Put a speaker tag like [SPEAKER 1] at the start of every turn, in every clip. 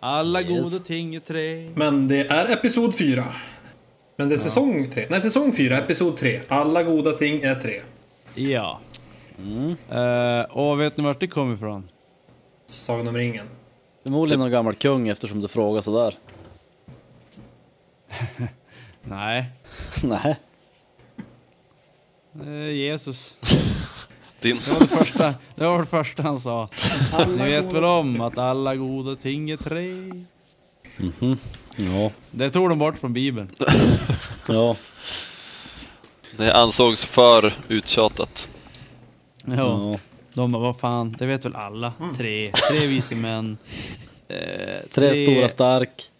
[SPEAKER 1] Alla
[SPEAKER 2] Yes.
[SPEAKER 1] goda ting är tre.
[SPEAKER 3] Men det är episod fyra. Men det är säsong tre. Nej, säsong fyra, episod tre. Alla goda ting är tre.
[SPEAKER 1] Ja. Eh, och vet ni vart det kommer ifrån?
[SPEAKER 3] Sagan om ringen.
[SPEAKER 2] Förmodligen någon gammal kung eftersom du frågar sådär.
[SPEAKER 1] Nej.
[SPEAKER 2] Nej.
[SPEAKER 1] Eh, Jesus.
[SPEAKER 4] Din...
[SPEAKER 1] Första, det var det första han sa. Ni vet väl om att alla goda ting är tre?
[SPEAKER 2] Ja.
[SPEAKER 1] Det tog de bort från Bibeln.
[SPEAKER 2] Ja.
[SPEAKER 4] Det ansågs för uttjatat.
[SPEAKER 1] Ja. Mm. De bara, vad fan, det vet väl alla. Tre, tre vise män. Eh,
[SPEAKER 2] Tre stora stark.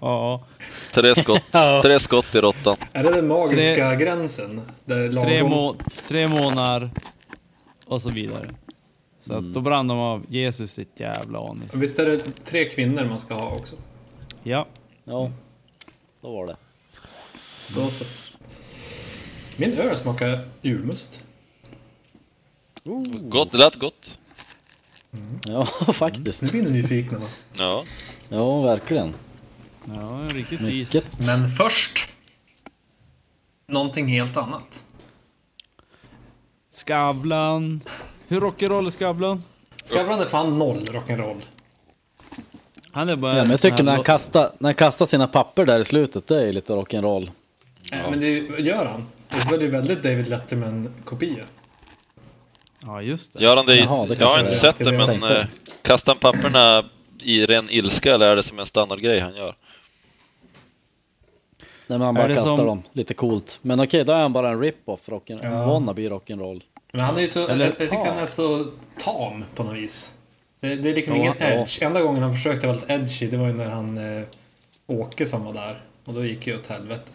[SPEAKER 1] Ja.
[SPEAKER 4] Tre skott, tre skott i råttan.
[SPEAKER 3] Är det den magiska gränsen? Där lagom...
[SPEAKER 1] Tre, må tre månader och så vidare. Så att då brann de av Jesus sitt jävla anus.
[SPEAKER 3] Visst är det tre kvinnor man ska ha också?
[SPEAKER 1] Mm. Ja.
[SPEAKER 2] Ja. Då var det.
[SPEAKER 3] Då så. Min öl smakar julmust.
[SPEAKER 4] Gott, det lät gott.
[SPEAKER 2] Ja, faktiskt.
[SPEAKER 3] Nu blir ni nyfikna va?
[SPEAKER 4] Ja.
[SPEAKER 2] Ja, verkligen.
[SPEAKER 1] Ja, en riktig tis.
[SPEAKER 2] Mycket.
[SPEAKER 3] Men först! Någonting helt annat.
[SPEAKER 1] Skavlan. Hur rock'n'roll är Skavlan?
[SPEAKER 3] Skavlan är fan noll rock'n'roll.
[SPEAKER 1] Han är bara...
[SPEAKER 2] Ja, men
[SPEAKER 1] en
[SPEAKER 2] jag
[SPEAKER 1] sån
[SPEAKER 2] tycker när
[SPEAKER 1] här lo-
[SPEAKER 2] han, kastar, när han kastar sina papper där i slutet, det är ju lite rock'n'roll.
[SPEAKER 3] Äh, Men det gör han. Det är ju väldigt David Letterman-kopia.
[SPEAKER 1] Ja, just det.
[SPEAKER 4] Gör han det i...
[SPEAKER 2] Jaha, det kanske
[SPEAKER 4] jag har inte
[SPEAKER 3] är-
[SPEAKER 4] sett
[SPEAKER 3] det
[SPEAKER 4] det,
[SPEAKER 3] jag
[SPEAKER 4] men...
[SPEAKER 2] tänkte.
[SPEAKER 4] Eh, kastar han papperna i ren ilska eller är det som en standardgrej han gör?
[SPEAKER 2] Nej, men han
[SPEAKER 1] Är
[SPEAKER 2] bara
[SPEAKER 1] det
[SPEAKER 2] kastar
[SPEAKER 1] som-
[SPEAKER 2] dem. Lite coolt. Men okej, då är han bara en rip-off rock'n'roll. En wannabe rock'n'roll.
[SPEAKER 3] Men han är ju så,
[SPEAKER 1] Eller-
[SPEAKER 3] jag, jag tycker han är så tam på något vis. Det, det är liksom
[SPEAKER 2] Ja,
[SPEAKER 3] ingen
[SPEAKER 2] ja.
[SPEAKER 3] edge. Enda gången han försökte vara lite edgy, det var ju när han eh, Åke som var där. Och då gick ju åt helvete.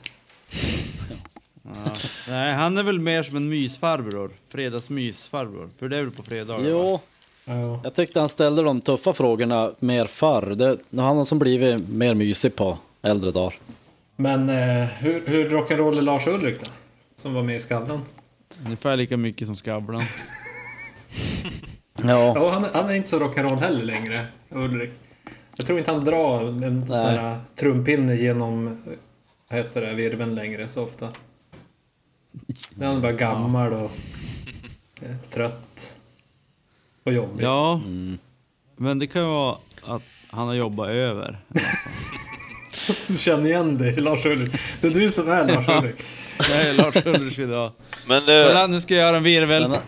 [SPEAKER 1] Nej, han är väl mer som en mysfarbror. Fredagsmysfarbror. För det är väl på fredagar? va?
[SPEAKER 2] Jo,
[SPEAKER 3] Ja.
[SPEAKER 2] jag tyckte han ställde de tuffa frågorna mer förr. Det, han har som blivit mer mysig på äldre dagar.
[SPEAKER 3] Men eh, hur, hur rock'n'roll är Lars Ulrik då? Som var med i Skavlan.
[SPEAKER 1] Ungefär lika mycket som Skavlan.
[SPEAKER 2] Ja,
[SPEAKER 3] Ja, han, han är inte så rock'n'roll heller längre, Ulrik. Jag tror inte han drar en sån här trumpinne genom vad heter det, virveln längre så ofta. När han är bara gammal och eh, trött. Och jobbig.
[SPEAKER 1] Ja.
[SPEAKER 2] Mm.
[SPEAKER 1] Men det kan ju vara att han har jobbat över.
[SPEAKER 3] Du känner igen dig, Lars Ulrik. Det är du som är Lars Ulrik.
[SPEAKER 1] Det är Lars Ulrich idag.
[SPEAKER 4] Men eh,
[SPEAKER 1] Kolla, nu ska jag göra en virvel.
[SPEAKER 2] Men-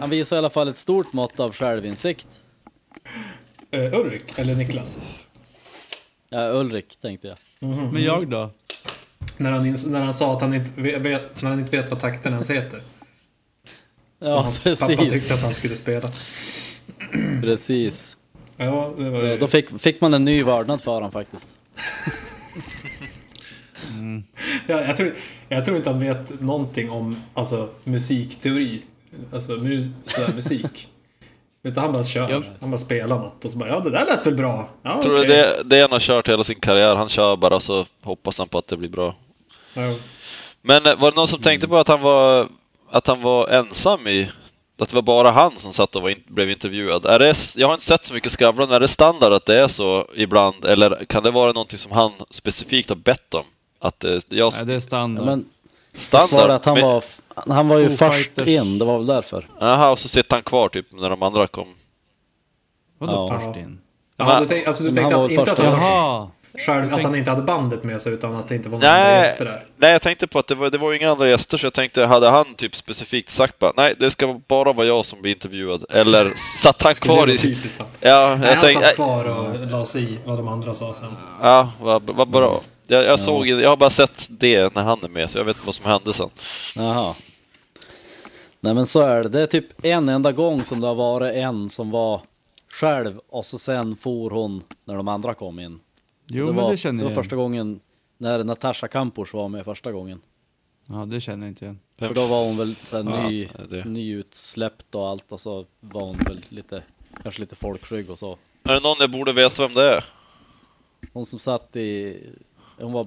[SPEAKER 2] han visar i alla fall ett stort mått av självinsikt.
[SPEAKER 3] Eh, Ulrik, eller Niklas.
[SPEAKER 2] Ja, Ulrik tänkte jag.
[SPEAKER 1] Men jag
[SPEAKER 2] Mm.
[SPEAKER 1] då?
[SPEAKER 3] När han, ins- när han sa att han inte ve- vet, när han inte vet vad takten ens heter. Som
[SPEAKER 2] Ja,
[SPEAKER 3] hans pappa
[SPEAKER 2] precis.
[SPEAKER 3] tyckte att han skulle spela.
[SPEAKER 2] precis.
[SPEAKER 3] Ja, det var
[SPEAKER 2] Ja,
[SPEAKER 3] ju...
[SPEAKER 2] Då fick, fick man en ny vördnad för honom faktiskt.
[SPEAKER 3] Ja, jag, tror, jag tror inte han vet någonting om alltså, musikteori. Alltså mu, sådär musik. Utan han bara kör.
[SPEAKER 1] Ja.
[SPEAKER 3] Han bara spelar något och så bara ja det där lät väl bra. Ja,
[SPEAKER 4] tror du
[SPEAKER 3] okej.
[SPEAKER 4] det, det han har kört hela sin karriär? Han kör bara och så hoppas han på att det blir bra.
[SPEAKER 3] Ja.
[SPEAKER 4] Men eh, var det någon som tänkte på att han var, att han var ensam i... Att det var bara han som satt och var in, blev intervjuad. Är det, s- jag har inte sett så mycket Skavlan, men är det standard att det är så ibland? Eller kan det vara någonting som han specifikt har bett om? Att eh, det, jag,
[SPEAKER 1] Nej, det är
[SPEAKER 2] Ja,
[SPEAKER 1] standard.
[SPEAKER 2] men
[SPEAKER 4] standard?
[SPEAKER 2] svaret att han
[SPEAKER 4] men-
[SPEAKER 2] var, han var ju
[SPEAKER 1] Foo
[SPEAKER 2] först
[SPEAKER 1] Fighters.
[SPEAKER 2] in, det var väl därför.
[SPEAKER 4] Jaha, och så sitter han kvar typ när de andra kom.
[SPEAKER 1] Vadå
[SPEAKER 2] Ja.
[SPEAKER 1] först in?
[SPEAKER 3] Ja, du, tänk, alltså, du
[SPEAKER 2] Men
[SPEAKER 3] tänkte
[SPEAKER 2] han var
[SPEAKER 3] att,
[SPEAKER 2] väl
[SPEAKER 3] inte
[SPEAKER 2] först
[SPEAKER 3] att, han,
[SPEAKER 2] i alla
[SPEAKER 3] var-
[SPEAKER 1] Jaha!
[SPEAKER 3] själv, att han inte hade bandet med sig utan att det inte var några andra
[SPEAKER 4] Nej,
[SPEAKER 3] gäster där.
[SPEAKER 4] nej, jag tänkte på att det var, det var ju inga andra gäster så jag tänkte, hade han typ specifikt sagt bara nej, det ska bara vara jag som blir intervjuad? Eller satt han
[SPEAKER 3] Skulle
[SPEAKER 4] kvar
[SPEAKER 3] det vara
[SPEAKER 4] i...
[SPEAKER 3] Typiskt han.
[SPEAKER 4] Ja,
[SPEAKER 3] Nej,
[SPEAKER 4] jag
[SPEAKER 3] han
[SPEAKER 4] tänkte...
[SPEAKER 3] satt kvar och la sig i vad de andra sa sen.
[SPEAKER 4] Ja, vad vad bra. Jag, jag, såg, jag har bara sett det när han är med, så jag vet inte vad som hände sen.
[SPEAKER 2] Jaha. Nej men så är det. Det är typ en enda gång som det har varit en som var själv och så sen for hon när de andra kom in.
[SPEAKER 1] Jo,
[SPEAKER 2] det
[SPEAKER 1] men
[SPEAKER 2] var,
[SPEAKER 1] det känner
[SPEAKER 2] Det
[SPEAKER 1] jag
[SPEAKER 2] var
[SPEAKER 1] igen.
[SPEAKER 2] första gången när Natasha Kampusch var med första gången.
[SPEAKER 1] Ja, det känner jag inte igen.
[SPEAKER 4] Vem-
[SPEAKER 2] För då var hon väl så här,
[SPEAKER 4] Ja,
[SPEAKER 2] ny,
[SPEAKER 4] det-
[SPEAKER 2] nyutsläppt och allt och så var hon väl lite, kanske lite folkskygg och så.
[SPEAKER 4] Är det någon jag borde veta vem det är?
[SPEAKER 2] Hon som satt i, hon var,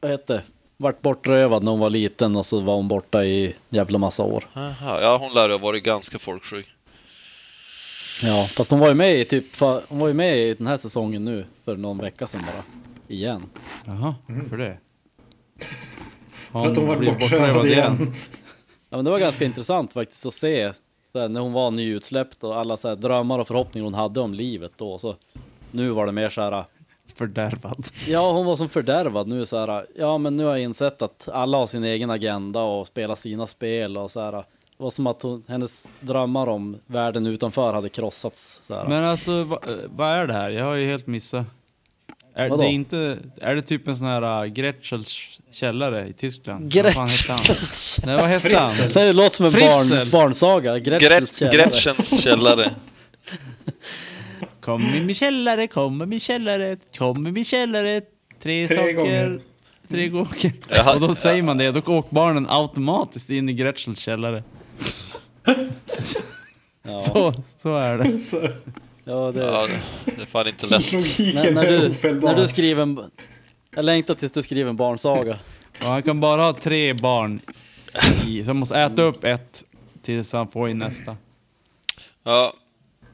[SPEAKER 2] vad hette det? vart bortrövad när hon var liten och så var hon borta i jävla massa år.
[SPEAKER 4] Aha, ja, hon lär ju ha varit ganska folksjuk.
[SPEAKER 2] Ja, fast hon var ju med i typ, fa- hon var ju med i den här säsongen nu för någon vecka sedan bara. Igen.
[SPEAKER 1] Jaha, varför det?
[SPEAKER 3] Mm. För att hon var
[SPEAKER 1] blir
[SPEAKER 3] bortrövad igen.
[SPEAKER 2] Ja men det var ganska intressant faktiskt att se så här, när hon var nyutsläppt och alla så här, drömmar och förhoppningar hon hade om livet då. Så nu var det mer så här,
[SPEAKER 1] Fördärvad.
[SPEAKER 2] ja hon var som fördärvad nu så här, ja men nu har jag insett att alla har sin egen agenda och spelar sina spel och så här. Det var som att hon, hennes drömmar om världen utanför hade krossats. Så här.
[SPEAKER 1] Men alltså, va- eh, vad är det här? Jag har ju helt missat. Är
[SPEAKER 2] Vadå?
[SPEAKER 1] det, inte, är det typ en sån här äh, Gretschels källare i Tyskland? Vad fan hette han?
[SPEAKER 2] Gretchens
[SPEAKER 1] Nej, vad hette han?
[SPEAKER 3] Fritzl.
[SPEAKER 2] Det låter som en barn,
[SPEAKER 1] Fritzl.
[SPEAKER 2] barnsaga. Gretchens
[SPEAKER 4] Gret-
[SPEAKER 2] källare.
[SPEAKER 4] Gretchens källare.
[SPEAKER 1] Kom i min källare, kom i min källare, kom i min källare. Tre,
[SPEAKER 3] Tre
[SPEAKER 1] saker.
[SPEAKER 3] gånger.
[SPEAKER 1] Tre gånger.
[SPEAKER 4] Jaha.
[SPEAKER 1] Och då säger man det, då åker barnen automatiskt in i Gretchels källare.
[SPEAKER 2] Ja.
[SPEAKER 1] Så, så är det.
[SPEAKER 3] Så,
[SPEAKER 2] Ja, det...
[SPEAKER 4] Ja, det- det är fan inte lätt.
[SPEAKER 2] när,
[SPEAKER 3] logiken
[SPEAKER 2] när,
[SPEAKER 3] är
[SPEAKER 2] du, när
[SPEAKER 3] ofelbar.
[SPEAKER 2] du skriver en... Jag längtar tills du skriver en barnsaga.
[SPEAKER 1] Och han kan bara ha tre barn i, så han måste äta upp ett tills han får in nästa.
[SPEAKER 4] Ja,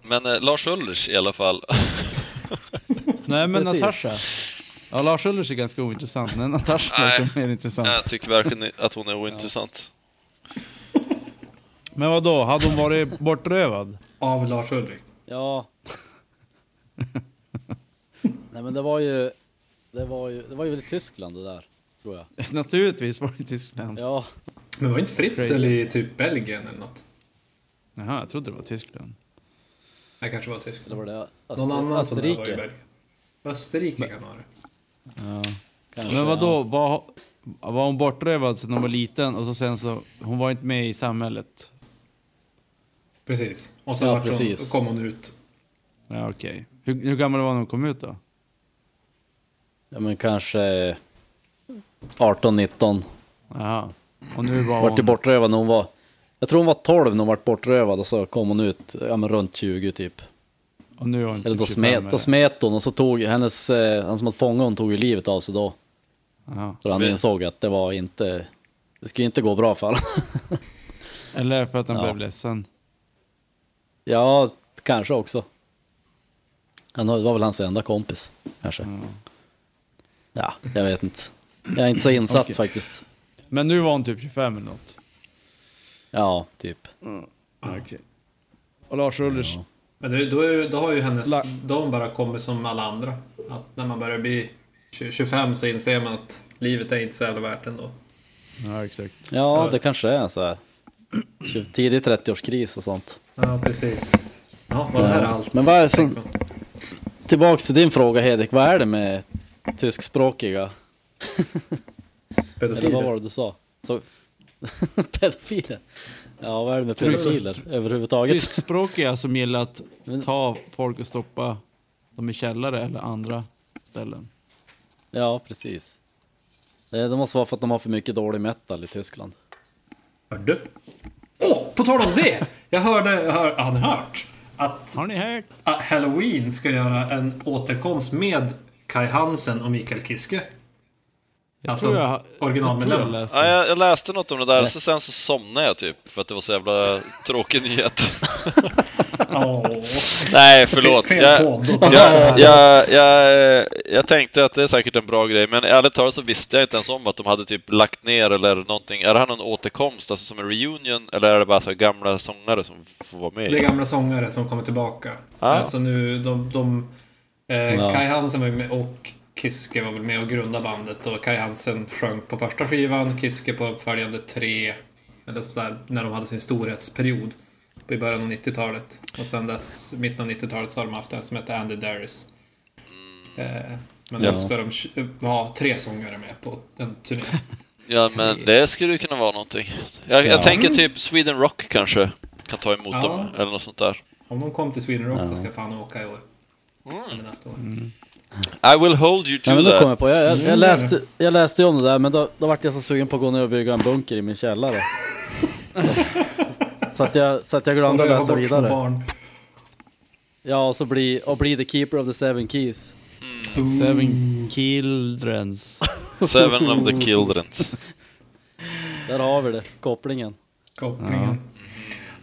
[SPEAKER 4] men eh, Lars Ullers i alla fall.
[SPEAKER 1] Nej men
[SPEAKER 2] Precis.
[SPEAKER 1] Natasha. Ja, Lars Ullers är ganska ointressant, men Natasha
[SPEAKER 4] Nej.
[SPEAKER 1] är lite mer intressant.
[SPEAKER 4] Jag tycker verkligen att hon är ointressant.
[SPEAKER 1] Men vad då? hade hon varit bortrövad?
[SPEAKER 3] Av Lars Ulrik.
[SPEAKER 2] Ja. Nej men det var ju... Det var ju, det var ju väl i Tyskland det där, tror jag.
[SPEAKER 1] Naturligtvis var det i Tyskland.
[SPEAKER 2] Ja,
[SPEAKER 3] Men var inte Fritzl i typ Belgien eller något?
[SPEAKER 1] Jaha, jag trodde det var Tyskland.
[SPEAKER 3] Nej, kanske var Tyskland.
[SPEAKER 2] eller var det Öster,
[SPEAKER 3] Någon annan som där var i
[SPEAKER 2] Österrike?
[SPEAKER 3] Belgien. Österrike kan ha det.
[SPEAKER 1] Ja.
[SPEAKER 2] Kanske,
[SPEAKER 1] Men vad då? Var, var hon bortrövad sedan hon var liten och så sen så, hon var inte med i samhället?
[SPEAKER 3] Precis. Och så
[SPEAKER 2] Ja,
[SPEAKER 3] vart hon,
[SPEAKER 2] precis.
[SPEAKER 3] då kom hon ut.
[SPEAKER 1] Ja, okej. Hur, hur gammal var hon när hon kom ut då?
[SPEAKER 2] Ja men kanske... 18, 19.
[SPEAKER 1] Jaha. Och nu var
[SPEAKER 2] Vart ju
[SPEAKER 1] hon...
[SPEAKER 2] bortrövad när hon var... Jag tror hon var 12 när hon vart bortrövad och så kom hon ut, ja men runt 20 typ.
[SPEAKER 1] Och nu är hon
[SPEAKER 2] Eller
[SPEAKER 1] typ
[SPEAKER 2] då
[SPEAKER 1] 25
[SPEAKER 2] smet, då smet hon och så tog hennes, eh, han som hade fångat hon tog ju livet av sig då.
[SPEAKER 1] Jaha.
[SPEAKER 2] För han
[SPEAKER 4] Men-
[SPEAKER 2] insåg att det var inte, det skulle inte gå bra för honom.
[SPEAKER 1] Eller för att han
[SPEAKER 2] Ja.
[SPEAKER 1] blev ledsen.
[SPEAKER 2] ja, kanske också. Han har- det var väl hans enda kompis, kanske.
[SPEAKER 1] Mm.
[SPEAKER 2] Ja, jag vet inte. Jag är inte så insatt
[SPEAKER 1] Okej.
[SPEAKER 2] faktiskt.
[SPEAKER 1] Men nu var hon typ 25 eller något.
[SPEAKER 2] Ja, typ.
[SPEAKER 1] Och Lars Ullers...
[SPEAKER 3] Men det, då, är, ju- då har ju hennes...
[SPEAKER 1] La-
[SPEAKER 3] De bara kommit som alla andra. Att när man börjar bli 20 25 så inser man att livet är inte så jävla värt ändå.
[SPEAKER 1] Ja, exakt.
[SPEAKER 2] Ja, det kanske är så här. Tidig 30-årskris och sånt.
[SPEAKER 3] Ja, precis. Ja, var det här allt?
[SPEAKER 2] Men vad är det som- Tillbaks till din fråga Hedek, vad är det med tyskspråkiga? Eller vad var
[SPEAKER 3] Pedofiler?
[SPEAKER 2] det du sa? Så... pedofiler? Ja, vad är det med pedofiler överhuvudtaget?
[SPEAKER 1] Tyskspråkiga som gillar att ta folk och stoppa dem i källare eller andra ställen.
[SPEAKER 2] Ja, precis. Eh, Det måste vara för att de har för mycket dålig metal i Tyskland.
[SPEAKER 3] Hörde? Åh, på tal om det! Jag hörde, jag hör, har ni hört? Att
[SPEAKER 1] Har ni hört?
[SPEAKER 3] ah, Halloween ska göra en återkomst med Kai Hansen och Mikael Kiske.
[SPEAKER 1] Jag
[SPEAKER 3] Alltså,
[SPEAKER 1] tror jag,
[SPEAKER 3] originalmedlem.
[SPEAKER 1] Jag tror jag läste.
[SPEAKER 4] Ja, jag, jag läste något om det där, så sen så somnade jag typ för att det var så jävla tråkig nyhet.
[SPEAKER 3] Åh.
[SPEAKER 4] Nej, förlåt.
[SPEAKER 3] Fel
[SPEAKER 4] Jag,
[SPEAKER 3] podd. då tar jag-
[SPEAKER 4] jag, jag, jag, jag tänkte att det är säkert en bra grej, men ärligt talat så visste jag inte ens om att de hade typ lagt ner eller någonting. Är det här någon återkomst, alltså som en reunion, eller är det bara så här gamla sångare som får vara med?
[SPEAKER 3] Det är gamla sångare som kommer tillbaka.
[SPEAKER 4] Ah.
[SPEAKER 3] Alltså nu, de, de, eh,
[SPEAKER 2] Ja.
[SPEAKER 3] Kai Hansen var ju med och Kiske var väl med och grundade bandet och Kai Hansen sjöng på första skivan, Kiske på följande tre, eller sådär, när de hade sin storhetsperiod i början av 90-talet. Och sen dess, mitten av 90-talet, så har de haft en som heter Andy Darris. Eh, Men
[SPEAKER 2] Ja.
[SPEAKER 3] nu ska de tj- ha tre sångare med på en turné.
[SPEAKER 4] Ja men det skulle ju kunna vara någonting. Jag, jag
[SPEAKER 2] Ja.
[SPEAKER 4] tänker typ Sweden Rock kanske kan ta emot
[SPEAKER 3] Ja.
[SPEAKER 4] dem eller något sånt där.
[SPEAKER 3] Om de kom till Sweden Rock så
[SPEAKER 2] Ja. Mm.
[SPEAKER 3] ska jag fan åka i år. Eller nästa år.
[SPEAKER 4] I will hold you to
[SPEAKER 2] Nej, men nu
[SPEAKER 4] that.
[SPEAKER 2] kom jag på, jag, jag,
[SPEAKER 3] Mm.
[SPEAKER 2] jag, läste, jag läste ju om det där men då, då vart jag så sugen på att gå ner och bygga en bunker i min källare. så, att jag, så att jag glömde att
[SPEAKER 3] Och röva
[SPEAKER 2] läsa
[SPEAKER 3] bort små
[SPEAKER 2] vidare.
[SPEAKER 3] barn.
[SPEAKER 2] Ja, och så bli, och bli the keeper of the seven keys.
[SPEAKER 1] Seven Childrens.
[SPEAKER 4] Seven of the Childrens.
[SPEAKER 2] Där har vi det, kopplingen.
[SPEAKER 3] Kopplingen.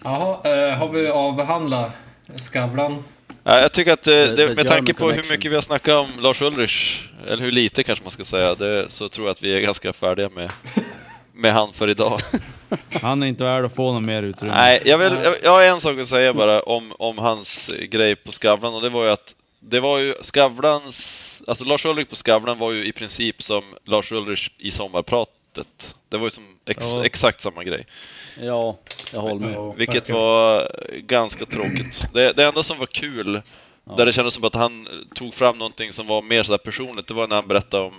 [SPEAKER 3] Jaha, eh, har vi avhandlat Skavlan?
[SPEAKER 4] Ja, jag tycker att eh,
[SPEAKER 2] The- the
[SPEAKER 4] det, med tanke
[SPEAKER 2] German
[SPEAKER 4] på hur
[SPEAKER 2] connection.
[SPEAKER 4] mycket vi har snackat om Lars Ulrich, eller hur lite kanske man ska säga, det, så tror jag att vi är ganska färdiga med, med han för idag.
[SPEAKER 1] Han är inte värd att få något mer utrymme.
[SPEAKER 4] Nej, jag, vill, jag, jag har en sak att säga bara om, om hans grej på Skavlan och det var ju att det var ju Skavlans, alltså Lars Ulrich på Skavlan var ju i princip som Lars Ulrich i sommarpratet. Det var ju som ex,
[SPEAKER 1] Ja.
[SPEAKER 4] exakt samma grej,
[SPEAKER 2] Ja, jag håller med.
[SPEAKER 3] Ja,
[SPEAKER 4] vilket
[SPEAKER 3] verkligen.
[SPEAKER 4] var ganska tråkigt. Det, det enda som var kul, där det kändes som att han tog fram någonting som var mer sådär personligt, det var när han berättade om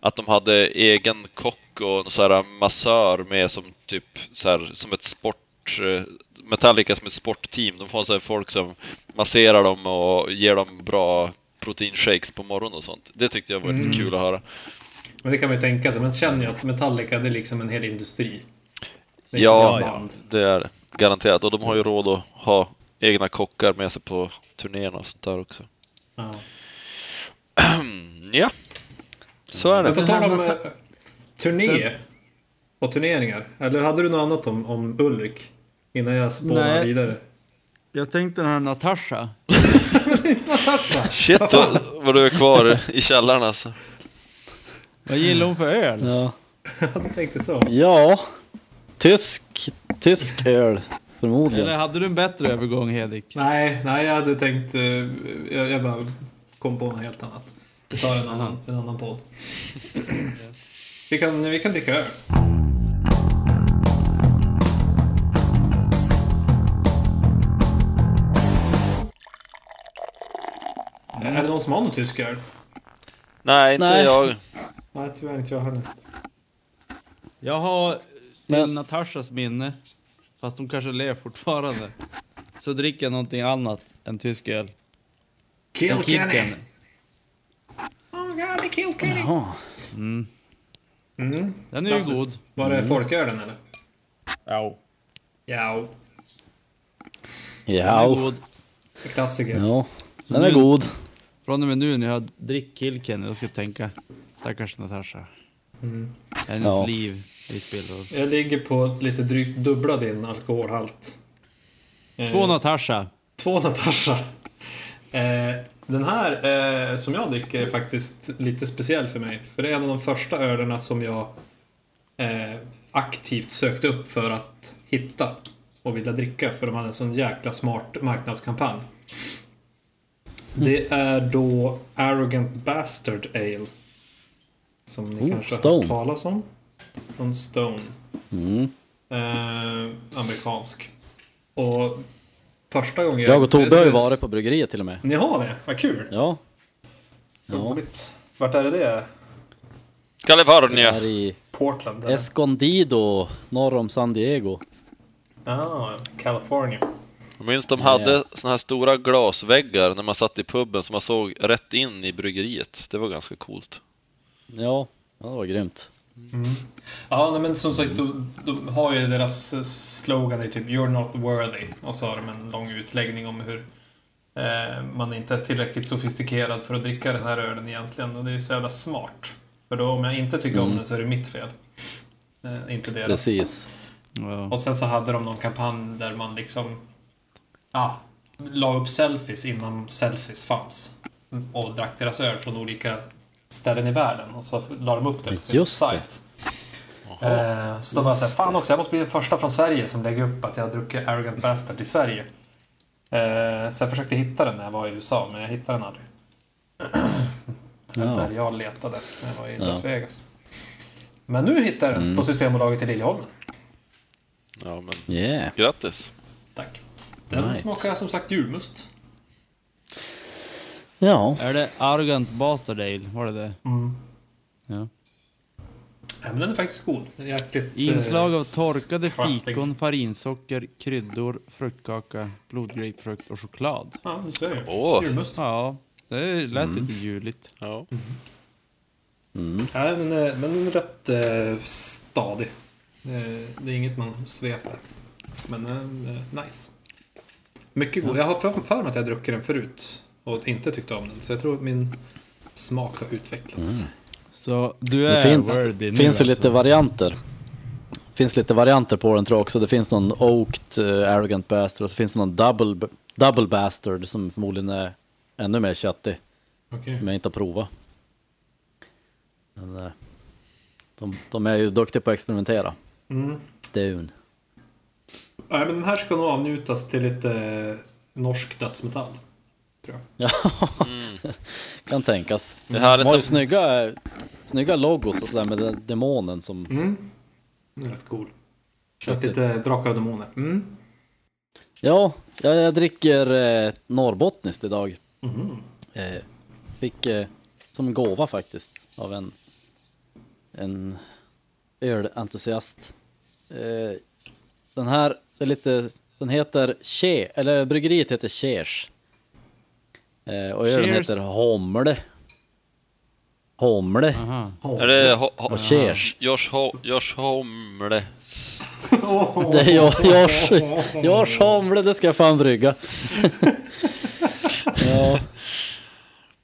[SPEAKER 4] att de hade egen kock och en sån här massör med som typ så här, som ett sport eh, Metallica som ett sportteam. De har så här folk som masserar dem och ger dem bra proteinshakes på morgonen och sånt. Det tyckte jag var lite
[SPEAKER 3] Mm.
[SPEAKER 4] kul att höra.
[SPEAKER 3] Men det kan man ju tänka sig. Men känner jag att Metallica det är liksom en hel industri. Det är
[SPEAKER 4] Ja,
[SPEAKER 3] inte ett band.
[SPEAKER 4] det är det. garanterat. Och de har ju råd att ha egna kockar med sig på turnéerna och sånt där också.
[SPEAKER 3] Ja.
[SPEAKER 4] Ja, så är
[SPEAKER 3] Men
[SPEAKER 4] det.
[SPEAKER 3] på
[SPEAKER 5] Den
[SPEAKER 3] tal om
[SPEAKER 5] här-
[SPEAKER 3] eh, turné och turneringar. Eller hade du något annat om, om Ulrik? Innan jag spånar
[SPEAKER 5] Nej.
[SPEAKER 3] vidare.
[SPEAKER 1] Jag tänkte den här Natasha.
[SPEAKER 3] Natasha!
[SPEAKER 4] Shit vad, vad du är kvar i källaren alltså.
[SPEAKER 1] Vad gillar hon för öl?
[SPEAKER 2] Ja.
[SPEAKER 3] Jag tänkte så.
[SPEAKER 2] ja, tysk, tysk öl
[SPEAKER 1] Eller
[SPEAKER 2] förmodligen.
[SPEAKER 1] hade du en bättre övergång Hedik?
[SPEAKER 3] Nej, nej jag hade tänkt... eh, Jag, jag bara kom på något helt annat. Vi tar en annan, en annan podd. Vi kan, vi kan dricka öl. Är det någon som har någon tysk öl?
[SPEAKER 4] Nej, inte
[SPEAKER 2] Nej.
[SPEAKER 4] jag.
[SPEAKER 3] Nej, tyvärr inte jag heller.
[SPEAKER 1] Jag har till
[SPEAKER 2] Men-
[SPEAKER 1] Natashas minne, fast hon kanske lever fortfarande, så dricker jag någonting annat än tysk öl. En
[SPEAKER 3] Kilkenny!
[SPEAKER 1] Kilkenny.
[SPEAKER 3] Oh my god, det är Kilkenny!
[SPEAKER 2] Ja.
[SPEAKER 3] Mm.
[SPEAKER 1] Den är ju
[SPEAKER 3] klassiskt.
[SPEAKER 1] god.
[SPEAKER 3] Var det folkölen eller?
[SPEAKER 1] Ja.
[SPEAKER 3] Ja,
[SPEAKER 1] Den är
[SPEAKER 2] Ja,
[SPEAKER 1] god.
[SPEAKER 3] klassiker.
[SPEAKER 2] ja.
[SPEAKER 1] Så
[SPEAKER 2] den är
[SPEAKER 1] nu-
[SPEAKER 2] god.
[SPEAKER 1] Från och med nu när jag dricker Kilkenny, då ska jag tänka stackars Natasha. Hennes
[SPEAKER 2] Ja.
[SPEAKER 1] liv i spillror.
[SPEAKER 3] Jag ligger på lite drygt dubbla din alkoholhalt. Eh,
[SPEAKER 1] Två Natasha.
[SPEAKER 3] Två Natasha. Eh, den här eh, som jag dricker är faktiskt lite speciell för mig. För det är en av de första ölerna som jag eh, aktivt sökte upp för att hitta och vilja dricka. För de hade en sån jäkla smart marknadskampanj.
[SPEAKER 2] Mm.
[SPEAKER 3] Det är då Arrogant Bastard Ale. Som ni
[SPEAKER 2] Oh,
[SPEAKER 3] kanske har
[SPEAKER 2] Stone.
[SPEAKER 3] hört talas om. Från Stone.
[SPEAKER 2] Mm.
[SPEAKER 3] Eh, amerikansk. Och första gången...
[SPEAKER 2] Jag och Tobbe har ju
[SPEAKER 3] du-
[SPEAKER 2] varit på bryggeriet till och med.
[SPEAKER 3] Ni har det? Vad kul!
[SPEAKER 2] Ja, Ja.
[SPEAKER 3] Roligt. Vart är det det är?
[SPEAKER 4] Kalifornien.
[SPEAKER 2] här i
[SPEAKER 3] Portland? eller?
[SPEAKER 2] Escondido, norr om San Diego.
[SPEAKER 3] ah, California.
[SPEAKER 4] Jag minns de
[SPEAKER 2] Ja, ja.
[SPEAKER 4] hade såna här stora glasväggar när man satt i puben så man såg rätt in i bryggeriet. Det var ganska coolt.
[SPEAKER 2] Ja, ja det var grymt.
[SPEAKER 3] Ja, nej, men som sagt, de, de har ju deras eh, slogan är typ “You're not worthy” och så har de en lång utläggning om hur eh, man inte är tillräckligt sofistikerad för att dricka den här ölen egentligen. Och det är ju så jävla smart. För då om jag inte tycker om den så är det mitt fel. Eh, inte deras.
[SPEAKER 2] Mm. Precis.
[SPEAKER 1] Ja.
[SPEAKER 3] Och sen så hade de någon kampanj där man liksom ah, la upp selfies innan selfies fanns. Och drack deras öl från olika ställen i världen. Och så la de upp det på sin
[SPEAKER 2] Just det.
[SPEAKER 3] sajt. Eh, så då var jag såhär, fan också, jag måste bli den första från Sverige som lägger upp att jag har druckit Arrogant Bastard i Sverige. Eh, så jag försökte hitta den när jag var i USA, men jag hittade den aldrig. Det var
[SPEAKER 2] Ja.
[SPEAKER 3] där jag letade när jag var i Las Vegas. Men nu hittar jag den
[SPEAKER 2] Mm.
[SPEAKER 3] på Systembolaget i Liljeholmen.
[SPEAKER 4] Ja, men
[SPEAKER 2] Yeah.
[SPEAKER 4] grattis.
[SPEAKER 3] Tack. Den
[SPEAKER 2] Right.
[SPEAKER 3] smakar som sagt julmust.
[SPEAKER 2] Ja.
[SPEAKER 1] Är det Arrogant Bastard Ale? Var det det?
[SPEAKER 3] Mm.
[SPEAKER 1] Ja.
[SPEAKER 3] Nej, men den är faktiskt god. Jäkligt... eh,
[SPEAKER 1] Inslag av torkade
[SPEAKER 3] kraftig.
[SPEAKER 1] fikon, farinsocker, kryddor, fruktkaka, blodgrapefrukt och choklad.
[SPEAKER 3] Ja, du ser.
[SPEAKER 4] Åh.
[SPEAKER 3] Julmust.
[SPEAKER 1] Ja, det lät
[SPEAKER 2] Mm.
[SPEAKER 1] lite juligt.
[SPEAKER 4] Ja.
[SPEAKER 3] Ja, den är, men den är rätt eh, stadig. Eh, det är inget man sveper. Men den är nice. Mycket god. Jag har för för mig att jag druckit den förut och inte tyckte om den. Så jag tror att min smak har utvecklats.
[SPEAKER 1] Mm. Så du är
[SPEAKER 2] Det finns,
[SPEAKER 1] worthy nu
[SPEAKER 2] finns ju lite
[SPEAKER 1] alltså.
[SPEAKER 2] varianter. finns lite varianter på den tror jag också. Det finns någon Oaked eh, Arrogant Bastard och så finns det någon Double, B- double Bastard som förmodligen är ännu mer köttig.
[SPEAKER 3] Okej.
[SPEAKER 2] Som jag inte har provat. Men, eh, de, de är ju duktiga på att experimentera.
[SPEAKER 3] Mm.
[SPEAKER 2] Stone.
[SPEAKER 3] Nej, men den här ska nog avnjutas till lite eh, norsk dödsmetall. Tror jag.
[SPEAKER 2] Ja, kan tänkas.
[SPEAKER 4] Mm. Det
[SPEAKER 2] Det
[SPEAKER 4] här
[SPEAKER 2] här
[SPEAKER 4] är
[SPEAKER 2] de har ju
[SPEAKER 4] inte-
[SPEAKER 2] snygga, snygga logos och sådär med den demonen som...
[SPEAKER 3] Mm. Den är rätt cool. Känns
[SPEAKER 2] Häftigt.
[SPEAKER 3] lite drakar och demoner. Mm.
[SPEAKER 2] Ja, jag, jag dricker eh, norrbottniskt idag.
[SPEAKER 3] Mhm.
[SPEAKER 2] Eh, fick eh, som gåva faktiskt av en, en ölentusiast. Eh, den här är lite, den heter Che, eller bryggeriet heter Cheers. Eh, och ölen
[SPEAKER 1] Cheers.
[SPEAKER 2] heter Homle. Homle
[SPEAKER 1] Aha.
[SPEAKER 3] Åh.
[SPEAKER 4] Är det ho, ho,
[SPEAKER 2] och Cheers.
[SPEAKER 4] Josh, ho, Josh Homle?
[SPEAKER 3] Åh.
[SPEAKER 2] Det är jag, Josh, Josh Homle, det ska jag fan brygga. ja.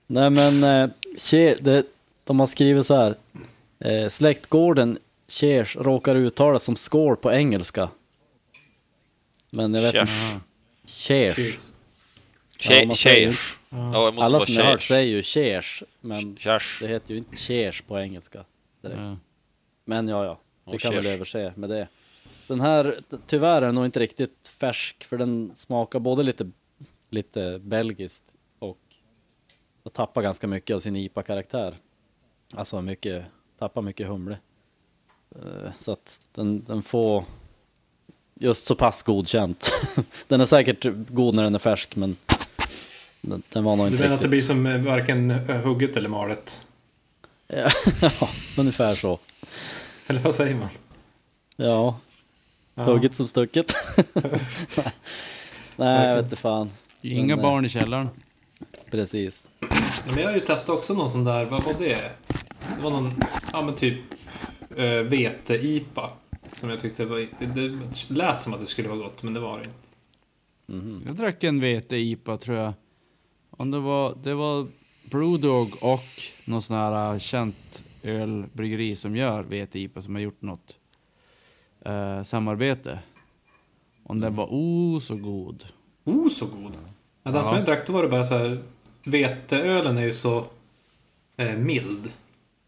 [SPEAKER 2] Nej men, eh, Che- det, de har skrivit så här. Eh, släktgården Cheers råkar uttalas som skål på engelska. Men jag vet inte.
[SPEAKER 4] Cheers.
[SPEAKER 2] Cheers.
[SPEAKER 3] Cheers.
[SPEAKER 2] Ja,
[SPEAKER 4] Che-
[SPEAKER 2] man säger ju-
[SPEAKER 4] Cheers. Ja, jag måste
[SPEAKER 2] Alla
[SPEAKER 4] vara
[SPEAKER 2] som jag har hört
[SPEAKER 4] Cheers.
[SPEAKER 2] säger ju Cheers, men
[SPEAKER 4] Cheers.
[SPEAKER 2] det heter ju inte Cheers på engelska. direkt.
[SPEAKER 1] Ja.
[SPEAKER 2] Men ja, ja. Vi
[SPEAKER 4] Och
[SPEAKER 2] kan väl
[SPEAKER 4] cheers.
[SPEAKER 2] överse med det. Den här, t- tyvärr är den nog inte riktigt färsk för den smakar både lite, lite belgiskt och och tappar ganska mycket av sin IPA-karaktär. Alltså mycket, tappar mycket humle. Eh, Så att den, den får just så pass godkänt. Den är säkert god när den är färsk men den, den var nog
[SPEAKER 3] Du
[SPEAKER 2] inte
[SPEAKER 3] menar att det
[SPEAKER 2] riktigt.
[SPEAKER 3] blir som eh, varken eh, hugget eller malet?
[SPEAKER 2] ja, ungefär så.
[SPEAKER 3] Eller vad säger man?
[SPEAKER 2] Ja, Hugget som stucket. Nej. Nej, jag vet inte fan.
[SPEAKER 1] Inga
[SPEAKER 2] Men, eh,
[SPEAKER 1] barn i källaren.
[SPEAKER 2] Precis.
[SPEAKER 3] Ja, Men jag har ju testat också någon sån där, vad var det? Det var någon, ja men typ eh, vete-IPA. Som jag tyckte var, det lät som att det skulle vara gott men det var det inte.
[SPEAKER 1] Jag drack en vete-IPA tror jag. Om det var, det var Brewdog och någon sån här äh, känt ölbryggeri som gör vete-IPA som har gjort något eh, samarbete. Och den var oh så god.
[SPEAKER 3] Oh så god! Ja, den som
[SPEAKER 1] Ja.
[SPEAKER 3] jag drack då var det bara så här, veteölen är ju så eh, mild.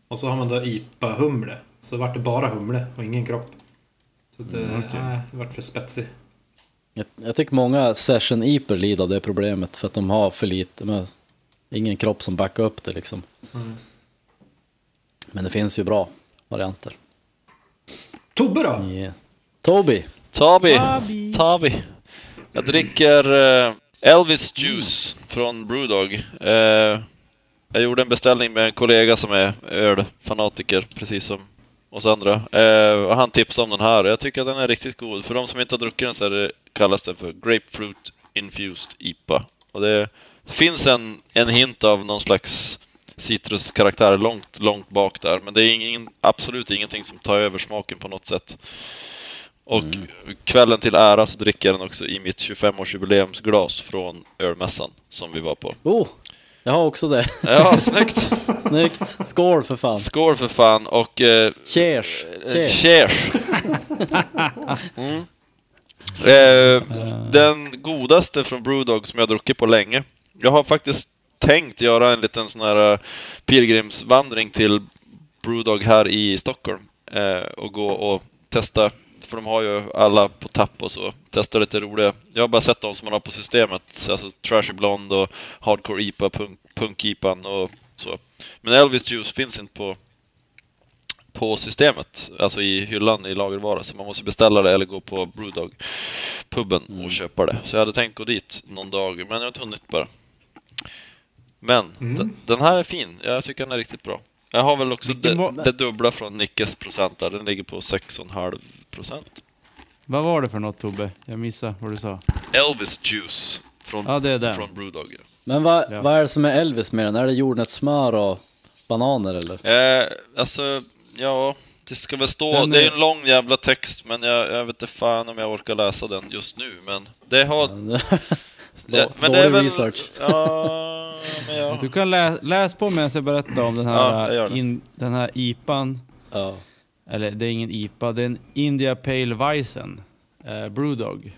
[SPEAKER 3] Och så har man då IPA-humle. Så vart det bara humle och ingen kropp. Så det, nej, det vart för spetsig.
[SPEAKER 2] Jag, jag tycker många session iper lider av det problemet för att de har för lite, de har ingen kropp som backar upp det liksom. Men det finns ju bra varianter.
[SPEAKER 3] Tobbe då?
[SPEAKER 2] Yeah. Toby,
[SPEAKER 4] Tabi. Tabi. Jag dricker eh, Elvis Juice från Brewdog. Eh, jag gjorde en beställning med en kollega som är ölfanatiker, precis som oss andra. Eh, och han tipsade om den här jag tycker att den är riktigt god. För de som inte har druckit den så är det, kallas den för Grapefruit Infused IPA. Och det finns en, en hint av någon slags citruskaraktär långt, långt bak där. Men det är ingen, absolut ingenting som tar över smaken på något sätt. Och kvällen till ära så dricker jag den också i mitt 25-årsjubileumsglas från ölmässan som vi var på.
[SPEAKER 2] oh, jag har också det.
[SPEAKER 4] Ja, snyggt!
[SPEAKER 2] Snyggt, skål för fan.
[SPEAKER 4] Skål för fan och eh,
[SPEAKER 2] Cheers,
[SPEAKER 4] eh,
[SPEAKER 2] cheers.
[SPEAKER 4] cheers! Mm. Eh, den godaste från Brewdog som jag har druckit på länge. Jag har faktiskt tänkt göra en liten sån här eh, pilgrimsvandring till Brewdog här i Stockholm eh, och gå och testa, för de har ju alla på tapp och så. Testa lite roliga. Jag har bara sett de som man har på systemet, alltså Trashy Blonde och Hardcore IPA, punk, punk IPAn och så. Men Elvis Juice finns inte på på systemet, alltså i hyllan i lagervara, så man måste beställa det eller gå på
[SPEAKER 1] Mm.
[SPEAKER 4] Brewdog-puben och köpa det. Så jag hade tänkt gå dit någon dag, men jag har inte hunnit bara. Men
[SPEAKER 3] Mm.
[SPEAKER 4] den, den här är fin, jag tycker den är riktigt bra. Jag har väl också det,
[SPEAKER 1] Vilken var-
[SPEAKER 4] det dubbla från Nickes procent där, den ligger på 6,5 procent.
[SPEAKER 1] Vad var det för något Tobbe? Jag missade vad du sa.
[SPEAKER 4] Elvis Juice från,
[SPEAKER 1] Ja, det är den.
[SPEAKER 4] från Brewdog. ja.
[SPEAKER 2] Men vad,
[SPEAKER 1] Ja.
[SPEAKER 2] vad är det som är Elvis med den? Är det jordnötssmör och bananer eller?
[SPEAKER 4] Eh, alltså, ja, det ska väl stå,
[SPEAKER 1] Den
[SPEAKER 4] det är ju
[SPEAKER 1] är-
[SPEAKER 4] en lång jävla text men jag, jag vet inte fan om jag orkar läsa den just nu men det har...
[SPEAKER 2] Då- dålig research.
[SPEAKER 4] Ja, men jag...
[SPEAKER 1] Du kan lä läs på medan jag berättar om den
[SPEAKER 4] Ja, jag
[SPEAKER 1] här, äh,
[SPEAKER 4] gör det.
[SPEAKER 1] in, den här IPan.
[SPEAKER 2] ja.
[SPEAKER 1] Eller det är ingen IPA, det är en India Pale Weizen eh, Brewdog.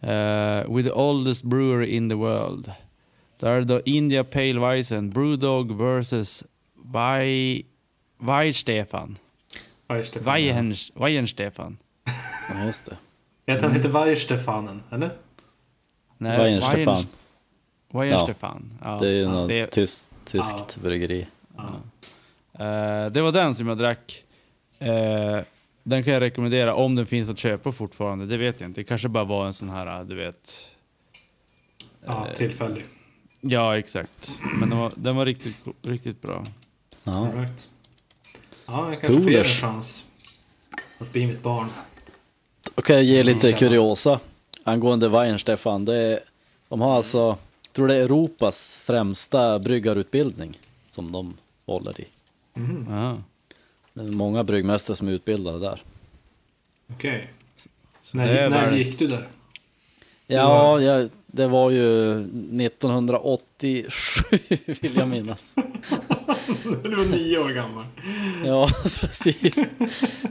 [SPEAKER 1] Eh, with the oldest brewery in the world. Där är det då India Pale Weizen Brewdog vs. Wei- Weihenstefan.
[SPEAKER 3] Weichstefan.
[SPEAKER 1] Weihen- Weihenstefan.
[SPEAKER 2] ja, just det.
[SPEAKER 3] Heter han inte Weichstefanen? Eller?
[SPEAKER 1] Nej,
[SPEAKER 2] Weihenstefan.
[SPEAKER 1] Weihen- Weihenstefan. Ja.
[SPEAKER 2] Det är ju typ-
[SPEAKER 1] han
[SPEAKER 2] något
[SPEAKER 1] ste-
[SPEAKER 2] tyst, tyskt bryggeri.
[SPEAKER 3] Ja.
[SPEAKER 1] Eh, det var den som jag drack. Eh, den kan jag rekommendera om den finns att köpa fortfarande. Det vet jag inte. Det kanske bara var en sån här, du vet.
[SPEAKER 3] Ja, tillfällig.
[SPEAKER 1] Ja, exakt. Men den var, den var riktigt, go- riktigt bra.
[SPEAKER 2] Ja.
[SPEAKER 3] All right. Ja, jag kanske får ge det en
[SPEAKER 2] Coolers.
[SPEAKER 3] chans. Att bli mitt barn.
[SPEAKER 2] Okej, jag ge lite
[SPEAKER 3] Mm.
[SPEAKER 2] kuriosa angående Weihenstefan. Det är, de har alltså, jag tror det är Europas främsta bryggarutbildning som de håller i.
[SPEAKER 1] Aha.
[SPEAKER 2] Det är många bryggmästare som är utbildade där.
[SPEAKER 3] Okej.
[SPEAKER 1] det
[SPEAKER 3] När,
[SPEAKER 1] är
[SPEAKER 3] när
[SPEAKER 1] världens-
[SPEAKER 3] gick du där?
[SPEAKER 2] Ja, jag, det var ju 1987 vill jag minnas.
[SPEAKER 3] du var nio år gammal.
[SPEAKER 2] Ja, precis.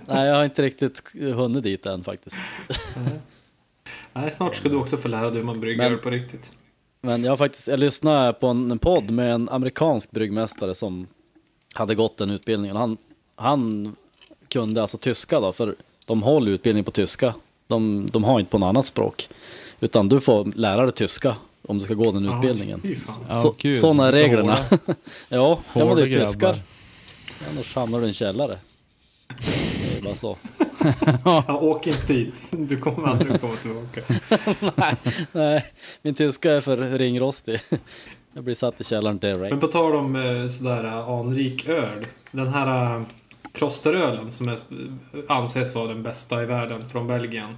[SPEAKER 2] Nej, jag har inte riktigt hunnit dit än faktiskt.
[SPEAKER 3] Nej, snart ska du också få lära dig hur man brygger
[SPEAKER 2] Men-
[SPEAKER 3] på riktigt.
[SPEAKER 2] Men jag har faktiskt, jag lyssnade på en, en podd med en amerikansk bryggmästare som hade gått den utbildningen. Han, han kunde alltså tyska då, för de håller utbildning på tyska. De, de har inte på något annat språk. Utan du får lära dig tyska om du ska gå den
[SPEAKER 3] Ja,
[SPEAKER 2] utbildningen.
[SPEAKER 3] fy fan.
[SPEAKER 1] Ja,
[SPEAKER 2] Så,
[SPEAKER 1] kul.
[SPEAKER 2] sådana är reglerna.
[SPEAKER 1] Hårda-
[SPEAKER 2] ja, ja, men det
[SPEAKER 1] hårda
[SPEAKER 2] är tyskar.
[SPEAKER 1] grabbar.
[SPEAKER 2] Annars hamnar du i en källare. Det är bara så.
[SPEAKER 3] Ja, åk inte dit. Du kommer aldrig komma tillbaka.
[SPEAKER 2] Nej, min tyska är för ringrostig. Jag blir satt i källaren
[SPEAKER 3] Men
[SPEAKER 2] direkt.
[SPEAKER 3] på tal om eh, sådär eh, anrik öl. Den här eh, klosterölen som är, eh, anses vara den bästa i världen från Belgien.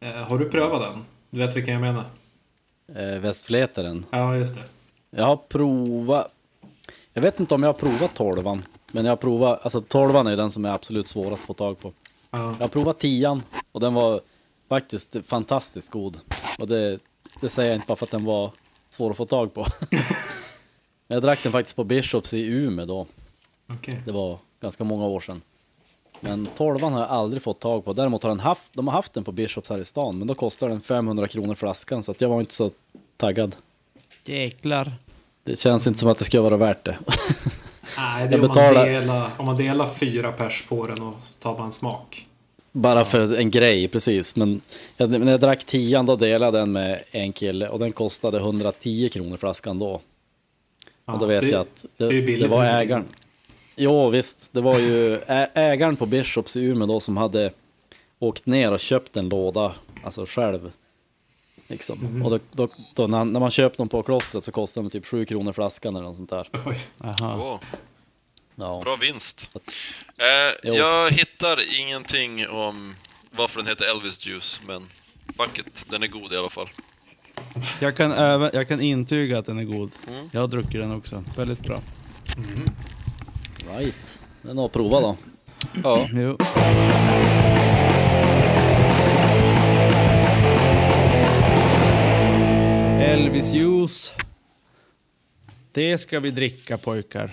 [SPEAKER 3] Eh, Har du prövat den? Du vet vilken jag menar?
[SPEAKER 2] Eh, Västflätaren.
[SPEAKER 3] Ja, just det.
[SPEAKER 2] Jag har provat. Jag vet inte om jag har provat tolvan. Men jag har provat, alltså tolvan är ju den som är absolut svårast att få tag på.
[SPEAKER 3] Ja.
[SPEAKER 2] Jag har provat tian och den var faktiskt fantastiskt god. Och det, det säger jag inte bara för att den var svår att få tag på. men jag drack den faktiskt på Bishops i Umeå då.
[SPEAKER 3] Okej.
[SPEAKER 2] Det var ganska många år sedan. Men tolvan har jag aldrig fått tag på. Däremot har den haft, de har haft den på Bishops här i stan. Men då kostar den 500 kronor flaskan så att jag var inte så taggad.
[SPEAKER 1] Jäklar.
[SPEAKER 2] Det känns inte som att det skulle vara värt det.
[SPEAKER 3] Nej,
[SPEAKER 2] Jag
[SPEAKER 3] det är om man,
[SPEAKER 2] betalar-
[SPEAKER 3] delar, om man delar fyra pers på den och tar bara en smak.
[SPEAKER 2] Bara för en grej, precis. Men jag, när jag drack tian då delade jag den med en kille och den kostade 110 kronor flaskan då.
[SPEAKER 3] Ja,
[SPEAKER 2] och då vet
[SPEAKER 3] det,
[SPEAKER 2] jag att
[SPEAKER 3] det är
[SPEAKER 2] det,
[SPEAKER 3] ju
[SPEAKER 2] det,
[SPEAKER 3] billigt
[SPEAKER 2] var
[SPEAKER 3] nu för tiden.
[SPEAKER 2] ägaren. Jo visst, det var ju ä- ägaren på Bishops i Umeå då som hade åkt ner och köpt en låda, alltså själv. Liksom.
[SPEAKER 3] Mhm.
[SPEAKER 2] Och då, då, då när, han- när man köpte dem på klostret så kostade de typ 7 kronor flaskan eller något sånt där.
[SPEAKER 3] Oj.
[SPEAKER 1] Aha.
[SPEAKER 4] Åh,
[SPEAKER 2] Ja.
[SPEAKER 4] bra vinst. Eh,
[SPEAKER 2] Jo.
[SPEAKER 4] jag hittar ingenting om varför den heter Elvis Juice men fuck it, den är god i alla fall.
[SPEAKER 1] Jag, kan även, jag kan intyga att den är god.
[SPEAKER 4] Mm.
[SPEAKER 1] Jag har druckit den också. Väldigt bra.
[SPEAKER 2] Right. Den har provat då.
[SPEAKER 4] Ja.
[SPEAKER 1] Jo. Elvis juice. Det ska vi dricka pojkar.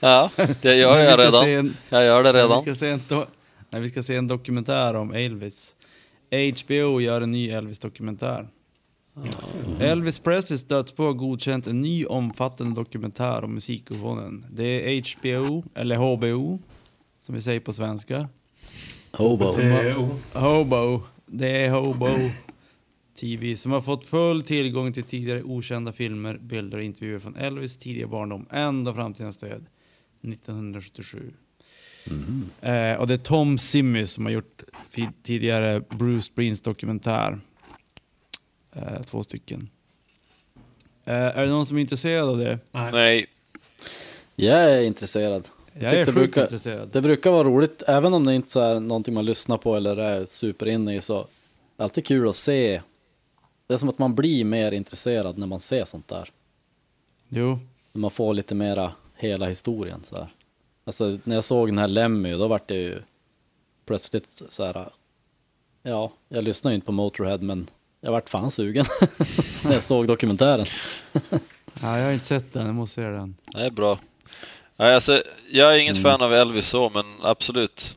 [SPEAKER 4] Ja, det gör
[SPEAKER 1] Men vi
[SPEAKER 4] jag
[SPEAKER 1] ska se
[SPEAKER 4] redan.
[SPEAKER 1] en-
[SPEAKER 4] Jag gör
[SPEAKER 1] När
[SPEAKER 4] det
[SPEAKER 1] vi,
[SPEAKER 4] redan.
[SPEAKER 1] ska se en do- när vi ska se en dokumentär om Elvis. HBO gör en ny Elvis-dokumentär. Elvis Presleys dödsbo har godkänt en ny omfattande dokumentär om musikofonen. Det är HBO, eller HBO, som vi säger på svenska.
[SPEAKER 2] Hobo.
[SPEAKER 3] Det är, oh,
[SPEAKER 1] Hobo. Det är Hobo TV som har fått full tillgång till tidigare okända filmer, bilder och intervjuer från Elvis tidiga barndom ända fram till hans död 1977. Eh, och det är Tom Simmy som har gjort fi- tidigare Bruce Springsteen dokumentär. Eh, två stycken. Eh, är det någon som är intresserad av det?
[SPEAKER 3] Nej.
[SPEAKER 4] Nej,
[SPEAKER 2] Jag är intresserad.
[SPEAKER 1] Jag
[SPEAKER 2] tyckte
[SPEAKER 1] är
[SPEAKER 2] det
[SPEAKER 1] sjukt
[SPEAKER 2] brukar-
[SPEAKER 1] intresserad.
[SPEAKER 2] Det brukar vara roligt, även om det inte så är någonting man lyssnar på eller är superinne i, så är det alltid kul att se. Det är som att man blir mer intresserad när man ser sånt där.
[SPEAKER 1] Jo,
[SPEAKER 2] När man får lite mera hela historien så här. Alltså när jag såg den här Lemmy, då vart det ju plötsligt så här. Ja, jag lyssnar ju inte på Motorhead, men jag vart fan sugen när jag såg dokumentären.
[SPEAKER 1] ja, jag har inte sett den, jag måste se den.
[SPEAKER 4] det är bra. Nej, alltså, jag är inget
[SPEAKER 1] Mm.
[SPEAKER 4] fan av Elvis så, men absolut.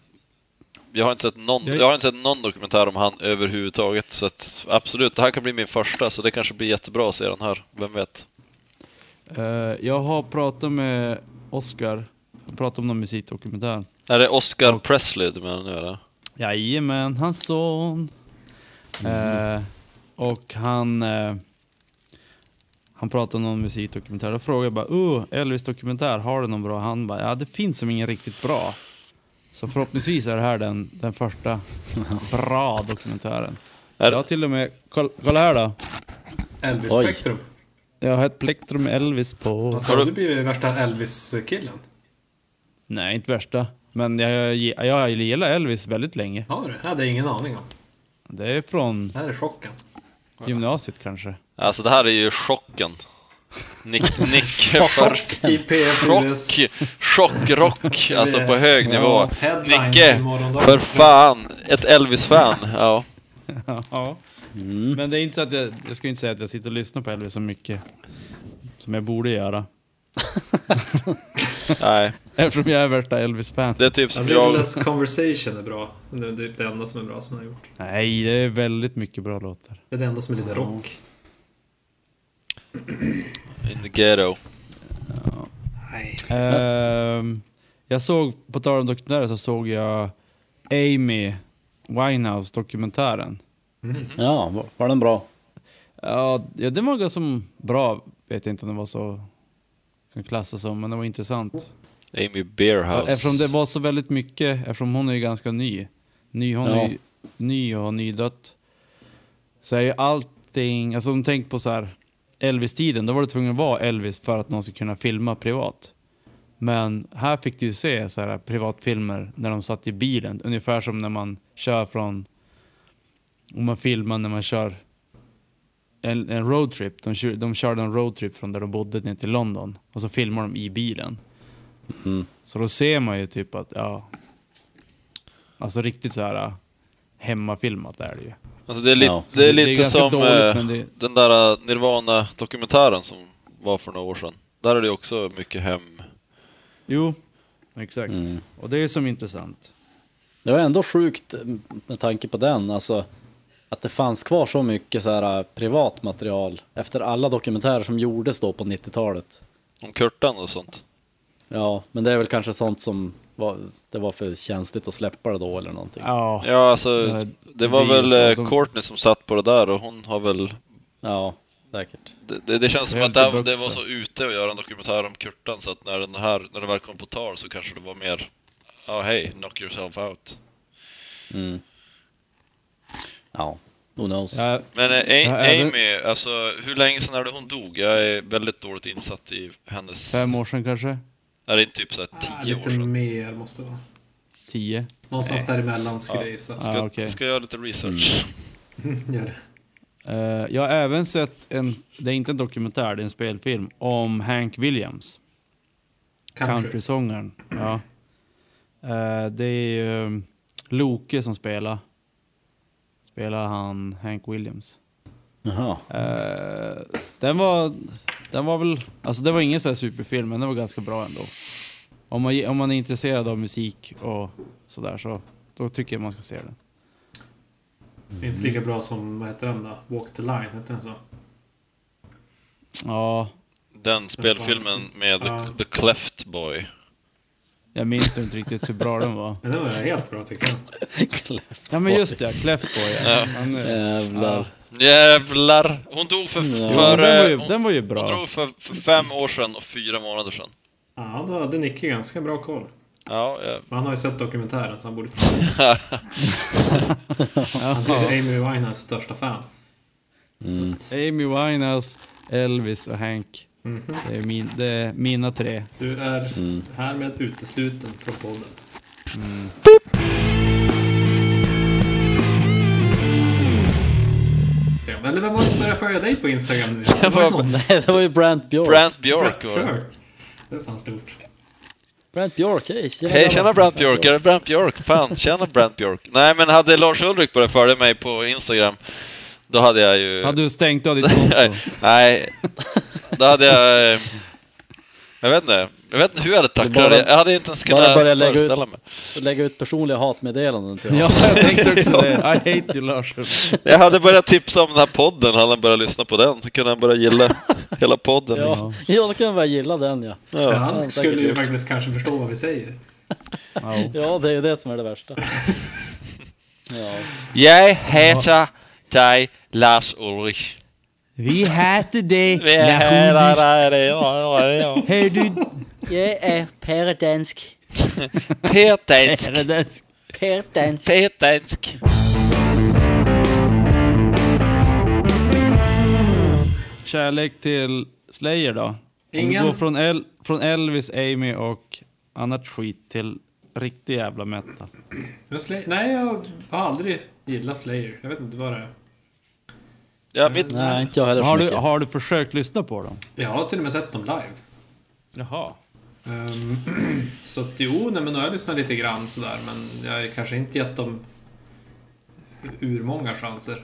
[SPEAKER 4] Jag har, inte sett någon,
[SPEAKER 1] Jag-
[SPEAKER 4] jag har inte sett någon dokumentär om han överhuvudtaget, så att, absolut, det här kan bli min första, så det kanske blir jättebra att se den här, vem vet?
[SPEAKER 1] Eh, jag har pratat med Oscar, jag pratade om någon musikdokumentär.
[SPEAKER 4] Är det Oscar Presley du menar nu eller?
[SPEAKER 1] Jajamän, hans son. Eh, och han, eh, han pratade om någon musikdokumentär. Då frågade jag bara, oh, Elvis dokumentär, har du någon bra? Han bara, ja det finns som ingen riktigt bra. Så förhoppningsvis är det här den, den första bra dokumentären.
[SPEAKER 4] Är
[SPEAKER 1] jag har
[SPEAKER 4] det,
[SPEAKER 1] till och med, kolla, kolla här då.
[SPEAKER 3] Elvis
[SPEAKER 2] Oj.
[SPEAKER 3] Spektrum.
[SPEAKER 1] Jag har ett plektrum med Elvis på.
[SPEAKER 3] Alltså,
[SPEAKER 4] Har
[SPEAKER 3] har
[SPEAKER 4] du-
[SPEAKER 3] du blivit värsta Elvis-killen?
[SPEAKER 1] Nej, inte värsta. Men jag, jag, jag gillar Elvis väldigt länge.
[SPEAKER 3] Har du? Det hade jag ingen aning om.
[SPEAKER 1] Det är från
[SPEAKER 3] Det här är chocken.
[SPEAKER 1] gymnasiet kanske.
[SPEAKER 4] alltså det här är ju chocken. Nick, Nick för
[SPEAKER 3] IPF US.
[SPEAKER 4] chock, chockrock, alltså på hög nivå.
[SPEAKER 3] Headlines
[SPEAKER 4] Nicke,
[SPEAKER 3] i morgondagens
[SPEAKER 4] för
[SPEAKER 3] press.
[SPEAKER 4] fan, ett Elvis-fan. Ja.
[SPEAKER 1] Ja. Men det är inte så att jag, jag ska inte säga att jag sitter och lyssnar på Elvis så mycket som jag borde göra.
[SPEAKER 4] Nej,
[SPEAKER 1] Eftersom jag är värsta Elvis-fan.
[SPEAKER 4] det är typ som jag...
[SPEAKER 3] Riddles Conversation är bra. Det är typ det enda som är bra som han har gjort.
[SPEAKER 1] Nej, det är väldigt mycket bra låtar.
[SPEAKER 3] Det är det enda som är lite rock.
[SPEAKER 4] In the ghetto.
[SPEAKER 3] Nej.
[SPEAKER 1] Ehm, jag såg, på tal om dokumentärer, så såg jag Amy Winehouse-dokumentären. Mm.
[SPEAKER 2] Ja, var, var den bra?
[SPEAKER 1] Ja, ja, den var ganska bra. Vet jag inte om den var så... Kan klassas som, men den var intressant.
[SPEAKER 4] Amy Beerhouse.
[SPEAKER 1] Eftersom det var så väldigt mycket, eftersom hon är ju ganska ny. ny hon
[SPEAKER 2] Ja.
[SPEAKER 1] är ju ny och har nydött. Så är ju allting, alltså om du tänker på så här Elvis-tiden, då var du tvungen att vara Elvis för att någon skulle kunna filma privat. Men här fick du ju se så här privatfilmer när de satt i bilen, ungefär som när man kör från, om man filmar när man kör en, en roadtrip. De, kör, de körde en roadtrip från där de bodde ner till London och så filmar de i bilen. Så då ser man ju typ att, ja. Alltså riktigt så här äh, hemmafilmat är det ju.
[SPEAKER 4] Alltså det är, li-
[SPEAKER 2] Ja.
[SPEAKER 4] det är
[SPEAKER 1] Det är
[SPEAKER 4] lite
[SPEAKER 1] ganska
[SPEAKER 4] som
[SPEAKER 1] dåligt,
[SPEAKER 4] eh,
[SPEAKER 1] men det-
[SPEAKER 4] den där eh, Nirvana-dokumentären som var för några år sedan. Där är det ju också mycket hem...
[SPEAKER 1] Jo, exakt. Och det är som intressant.
[SPEAKER 2] Det var ändå sjukt med tanke på den, alltså att det fanns kvar så mycket så här äh, privat material efter alla dokumentärer som gjordes då på 90-talet.
[SPEAKER 4] Om Kurtan och sånt.
[SPEAKER 2] Ja, men det är väl kanske sånt som var, det var för känsligt att släppa det då eller någonting.
[SPEAKER 1] Ja,
[SPEAKER 4] Ja, alltså
[SPEAKER 1] Det här-
[SPEAKER 4] det var
[SPEAKER 1] det blir ju
[SPEAKER 4] väl
[SPEAKER 1] så,
[SPEAKER 4] eh,
[SPEAKER 1] de-
[SPEAKER 4] Courtney som satt på det där och hon har väl...
[SPEAKER 2] Ja, säkert.
[SPEAKER 4] Det, det, det känns som
[SPEAKER 1] Helt
[SPEAKER 4] att det, här, det
[SPEAKER 1] buxa.
[SPEAKER 4] var så ute att göra en dokumentär om Kurtan så att när den här, när den väl kom på tal så kanske det var mer... Ja, hej, knock yourself out.
[SPEAKER 2] Mm. Ja, who knows.
[SPEAKER 1] ja
[SPEAKER 4] Men eh,
[SPEAKER 1] Ja,
[SPEAKER 4] A-
[SPEAKER 1] även-
[SPEAKER 4] Amy, alltså hur länge sedan är det hon dog? Jag är väldigt dåligt insatt i hennes...
[SPEAKER 1] fem år sedan kanske?
[SPEAKER 4] Är det inte typ såhär
[SPEAKER 3] Ah,
[SPEAKER 4] tio år
[SPEAKER 3] lite
[SPEAKER 4] sedan?
[SPEAKER 3] mer måste det vara.
[SPEAKER 1] Tio?
[SPEAKER 3] Någonstans däremellan skulle jag gissa.
[SPEAKER 4] Ska,
[SPEAKER 1] Ah, okej. Mm.
[SPEAKER 4] ska jag göra lite research?
[SPEAKER 3] Gör det.
[SPEAKER 1] Eh, jag har även sett en, det är inte en dokumentär, det är en spelfilm, om Hank Williams.
[SPEAKER 3] Country.
[SPEAKER 1] Countrysångaren. Ja. Eh, det är ju um, Loke som spelar. Spelar han Hank Williams.
[SPEAKER 2] Jaha.
[SPEAKER 1] Eh, den var... Den var väl... Alltså det var ingen så här superfilm, men den var ganska bra ändå. Om man, om man är intresserad av musik och sådär så då tycker jag man ska se den.
[SPEAKER 3] Inte lika bra som, vad heter den då? Walk the line, heter den så?
[SPEAKER 1] Ja,
[SPEAKER 4] Den spelfilmen med
[SPEAKER 3] Ja.
[SPEAKER 4] The, the Cleft Boy.
[SPEAKER 1] jag minns nog inte riktigt hur bra den var.
[SPEAKER 3] Men den var helt bra tycker jag.
[SPEAKER 1] Ja men just det, Clefboy. Ja. Han, eh,
[SPEAKER 2] Jävlar.
[SPEAKER 4] Jävlar! Hon dog för...
[SPEAKER 1] jo, Mm,
[SPEAKER 4] för
[SPEAKER 1] den, var ju,
[SPEAKER 4] eh, hon,
[SPEAKER 1] den var ju
[SPEAKER 4] hon
[SPEAKER 1] bra.
[SPEAKER 4] dog för, för fem år sedan och fyra månader sedan.
[SPEAKER 3] Ja, då hade Nicke ganska bra koll.
[SPEAKER 4] Ja, jag...
[SPEAKER 3] Men han har ju sett dokumentären så han borde... han är Amy Winehouses största fan. Så att,
[SPEAKER 1] Amy Winehouse, Elvis och Hank.
[SPEAKER 3] Mhm.
[SPEAKER 1] Det är, min, det är mina tre.
[SPEAKER 3] Du är
[SPEAKER 2] Mm.
[SPEAKER 3] härmed utesluten från podden. Se, Eller vem var det som började följa dig på Instagram nu? Det var ju någon.
[SPEAKER 2] Nej, det var ju Brant Björk. Brant,
[SPEAKER 4] Brant Björk var det.
[SPEAKER 3] Björk. Det är fan stort.
[SPEAKER 2] Björk, hej! Tjena,
[SPEAKER 4] Hej,
[SPEAKER 2] grabbar.
[SPEAKER 4] tjena Brant Björk, är det Brant Björk? Fan, tjena Brant Björk. Nej, men hade Lars Ulrik börjat följa mig på Instagram, då hade jag ju...
[SPEAKER 1] Hade du stängt av ditt konto?
[SPEAKER 4] Nej, då hade jag... eh, Jag vet inte, jag vet inte hur jag hade tacklat
[SPEAKER 2] Det är bara-
[SPEAKER 4] det. Jag hade inte ens
[SPEAKER 2] bara
[SPEAKER 4] kunnat
[SPEAKER 2] börja lägga ut-
[SPEAKER 4] föreställa mig.
[SPEAKER 2] Lägga ut personliga hatmeddelanden till
[SPEAKER 1] Ja, jag tänkte också det. I hate you Lars.
[SPEAKER 4] Jag hade börjat tipsa om den här podden, hade han börjat lyssna på den så kunde han börja gilla hela podden. Liksom.
[SPEAKER 2] Ja, ja då kan jag bara gilla den ja.
[SPEAKER 3] Ja,
[SPEAKER 4] Ja.
[SPEAKER 3] han
[SPEAKER 2] säkert
[SPEAKER 3] skulle ju
[SPEAKER 2] gjort.
[SPEAKER 3] faktiskt kanske förstå vad vi säger.
[SPEAKER 1] Ja.
[SPEAKER 2] Ja, det är ju det som är det värsta. Ja,
[SPEAKER 4] Jag heter dig Lars Ulrich.
[SPEAKER 1] Vi heter dig,
[SPEAKER 4] Vi är här, där, där, där, där, där.
[SPEAKER 1] Hör du?
[SPEAKER 5] Jeg er pæredansk.
[SPEAKER 4] Petansk,
[SPEAKER 1] Paradise.
[SPEAKER 5] Pæredansk.
[SPEAKER 4] petansk.
[SPEAKER 1] Kärlek till Slayer då? Om
[SPEAKER 3] Ingen.
[SPEAKER 1] du går från, El från Elvis, Amy och annat skit till riktig jävla metal.
[SPEAKER 3] Men Slay- Nej, jag har aldrig gillat Slayer. Jag vet inte vad det är.
[SPEAKER 4] Ja,
[SPEAKER 1] Mm.
[SPEAKER 4] mitt...
[SPEAKER 2] nej, inte jag heller så
[SPEAKER 1] Har du,
[SPEAKER 2] mycket.
[SPEAKER 1] har du försökt lyssna på dem?
[SPEAKER 3] Jag har till och med sett dem live.
[SPEAKER 1] Jaha.
[SPEAKER 3] Ehm, så att jo, nej, men nu har jag lyssnat lite grann sådär. Men jag har kanske inte gett dem urmånga chanser.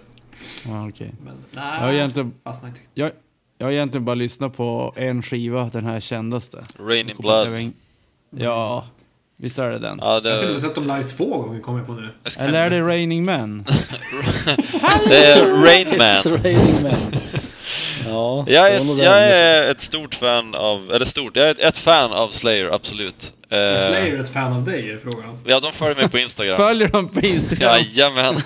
[SPEAKER 1] Ja, okej.
[SPEAKER 3] Men
[SPEAKER 1] Jag har
[SPEAKER 3] nej,
[SPEAKER 1] egentligen
[SPEAKER 3] fastnade inte riktigt.
[SPEAKER 1] Jag, jag har egentligen bara lyssnat på en skiva, den här kändaste.
[SPEAKER 4] Rain in blood.
[SPEAKER 1] Ja, visst är det den?
[SPEAKER 4] Ja,
[SPEAKER 3] Jag har till och
[SPEAKER 4] det,
[SPEAKER 3] med sett dem live två gånger kom jag på nu.
[SPEAKER 1] Eller är det Raining Man?
[SPEAKER 4] det är Rain Man.
[SPEAKER 2] It's raining men. Ja,
[SPEAKER 4] Jag
[SPEAKER 2] det var nog
[SPEAKER 4] är,
[SPEAKER 2] det
[SPEAKER 4] jag
[SPEAKER 2] jag missade.
[SPEAKER 4] är ett stort fan av, eller stort, jag är ett, ett fan av Slayer, absolut. Eh,
[SPEAKER 3] Är Slayer ett fan av dig är frågan.
[SPEAKER 4] Ja, de följer mig på Instagram.
[SPEAKER 1] Följer de på Instagram?
[SPEAKER 4] Jajamän.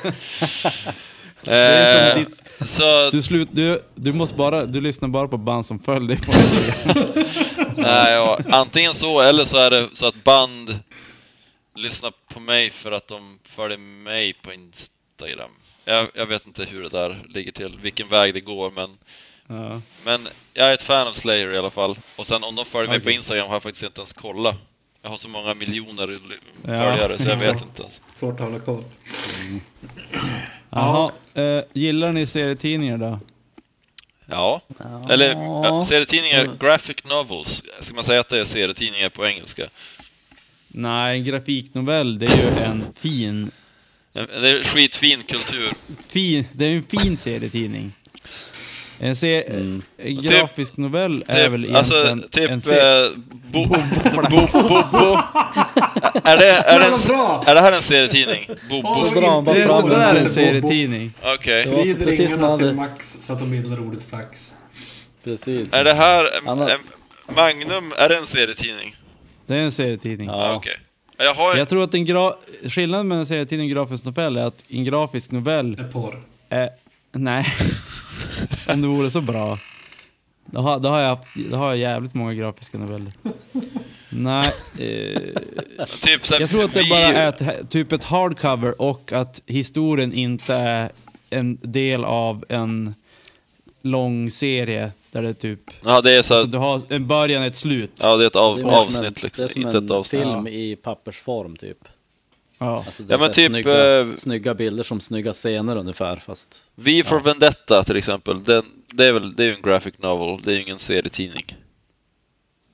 [SPEAKER 1] är som
[SPEAKER 4] Eh, Så,
[SPEAKER 1] Du, slut, du, du, måste bara, du lyssnar bara på band som följer dig på Instagram.
[SPEAKER 4] nej, ja, antingen så eller så är det så att band lyssnar på mig för att de följer mig på Instagram. Jag, jag vet inte hur det där ligger till, vilken väg det går men
[SPEAKER 1] Ja.
[SPEAKER 4] Men jag är ett fan av Slayer i alla fall. Och sen om de följer mig på Instagram har jag faktiskt inte ens kollat. Jag har så många miljoner l- följare så jag vet
[SPEAKER 1] exakt.
[SPEAKER 4] inte ens.
[SPEAKER 3] Svårt att hålla koll.
[SPEAKER 1] Jaha, eh, gillar ni serietidningar då?
[SPEAKER 4] Ja. Eller ja, serietidningar, graphic novels. Ska man säga att det är serietidningar på engelska?
[SPEAKER 1] Nej, en grafiknovell det är ju en fin,
[SPEAKER 4] Det är skitfin kultur.
[SPEAKER 1] fin, det är ju en fin serietidning. En, se, en
[SPEAKER 4] Typ-
[SPEAKER 1] grafisk novell är väl
[SPEAKER 4] Typ, alltså,
[SPEAKER 1] egentligen
[SPEAKER 4] typ...
[SPEAKER 1] en
[SPEAKER 4] eh, bo, bo, bo, bo. Är det, är, det
[SPEAKER 3] Så bra!
[SPEAKER 4] en, är det här en serietidning? Bobo?
[SPEAKER 2] Vad bra, han bara
[SPEAKER 1] Det är
[SPEAKER 2] fram
[SPEAKER 1] sådär
[SPEAKER 2] med
[SPEAKER 1] en serietidning.
[SPEAKER 4] Okej.
[SPEAKER 2] Det var så
[SPEAKER 3] Vrid
[SPEAKER 2] precis som han
[SPEAKER 3] ringarna till
[SPEAKER 2] hade.
[SPEAKER 3] Max så att de bildar ordet flax.
[SPEAKER 2] Precis.
[SPEAKER 4] Är det här... em-
[SPEAKER 2] Annars-
[SPEAKER 4] em- Magnum, är det en serietidning?
[SPEAKER 1] Det är en serietidning.
[SPEAKER 4] Ja, okej. Jag har
[SPEAKER 1] Jag tror att en gra- skillnaden mellan en serietidning och en grafisk novell är att en grafisk novell
[SPEAKER 3] Är porr.
[SPEAKER 1] Eh, nej. Om det vore så bra. Då har, då, har jag, då har jag jävligt många grafiska noveller. Nej. Eh,
[SPEAKER 4] Typ så här,
[SPEAKER 1] jag tror att det
[SPEAKER 4] vi-
[SPEAKER 1] bara är ett, typ ett hardcover och att historien inte är en del av en lång serie där det typ...
[SPEAKER 4] Ja, det är så
[SPEAKER 1] Så
[SPEAKER 4] här,
[SPEAKER 1] du har en början och ett slut.
[SPEAKER 4] ja, det är ett av,
[SPEAKER 2] Det är mer som en-
[SPEAKER 4] avsnitt liksom,
[SPEAKER 2] Det är som
[SPEAKER 4] inte ett
[SPEAKER 2] en
[SPEAKER 4] avsnitt.
[SPEAKER 2] film i pappersform typ.
[SPEAKER 1] Ja.
[SPEAKER 2] Alltså, det
[SPEAKER 4] Ja,
[SPEAKER 2] är så
[SPEAKER 4] men
[SPEAKER 2] här
[SPEAKER 4] typ,
[SPEAKER 2] snygga,
[SPEAKER 4] eh,
[SPEAKER 2] snygga bilder som snygga scener ungefär fast
[SPEAKER 4] Vi for Vendetta till exempel, den, det är väl, det är ju en graphic novel, det är ju ingen serietidning.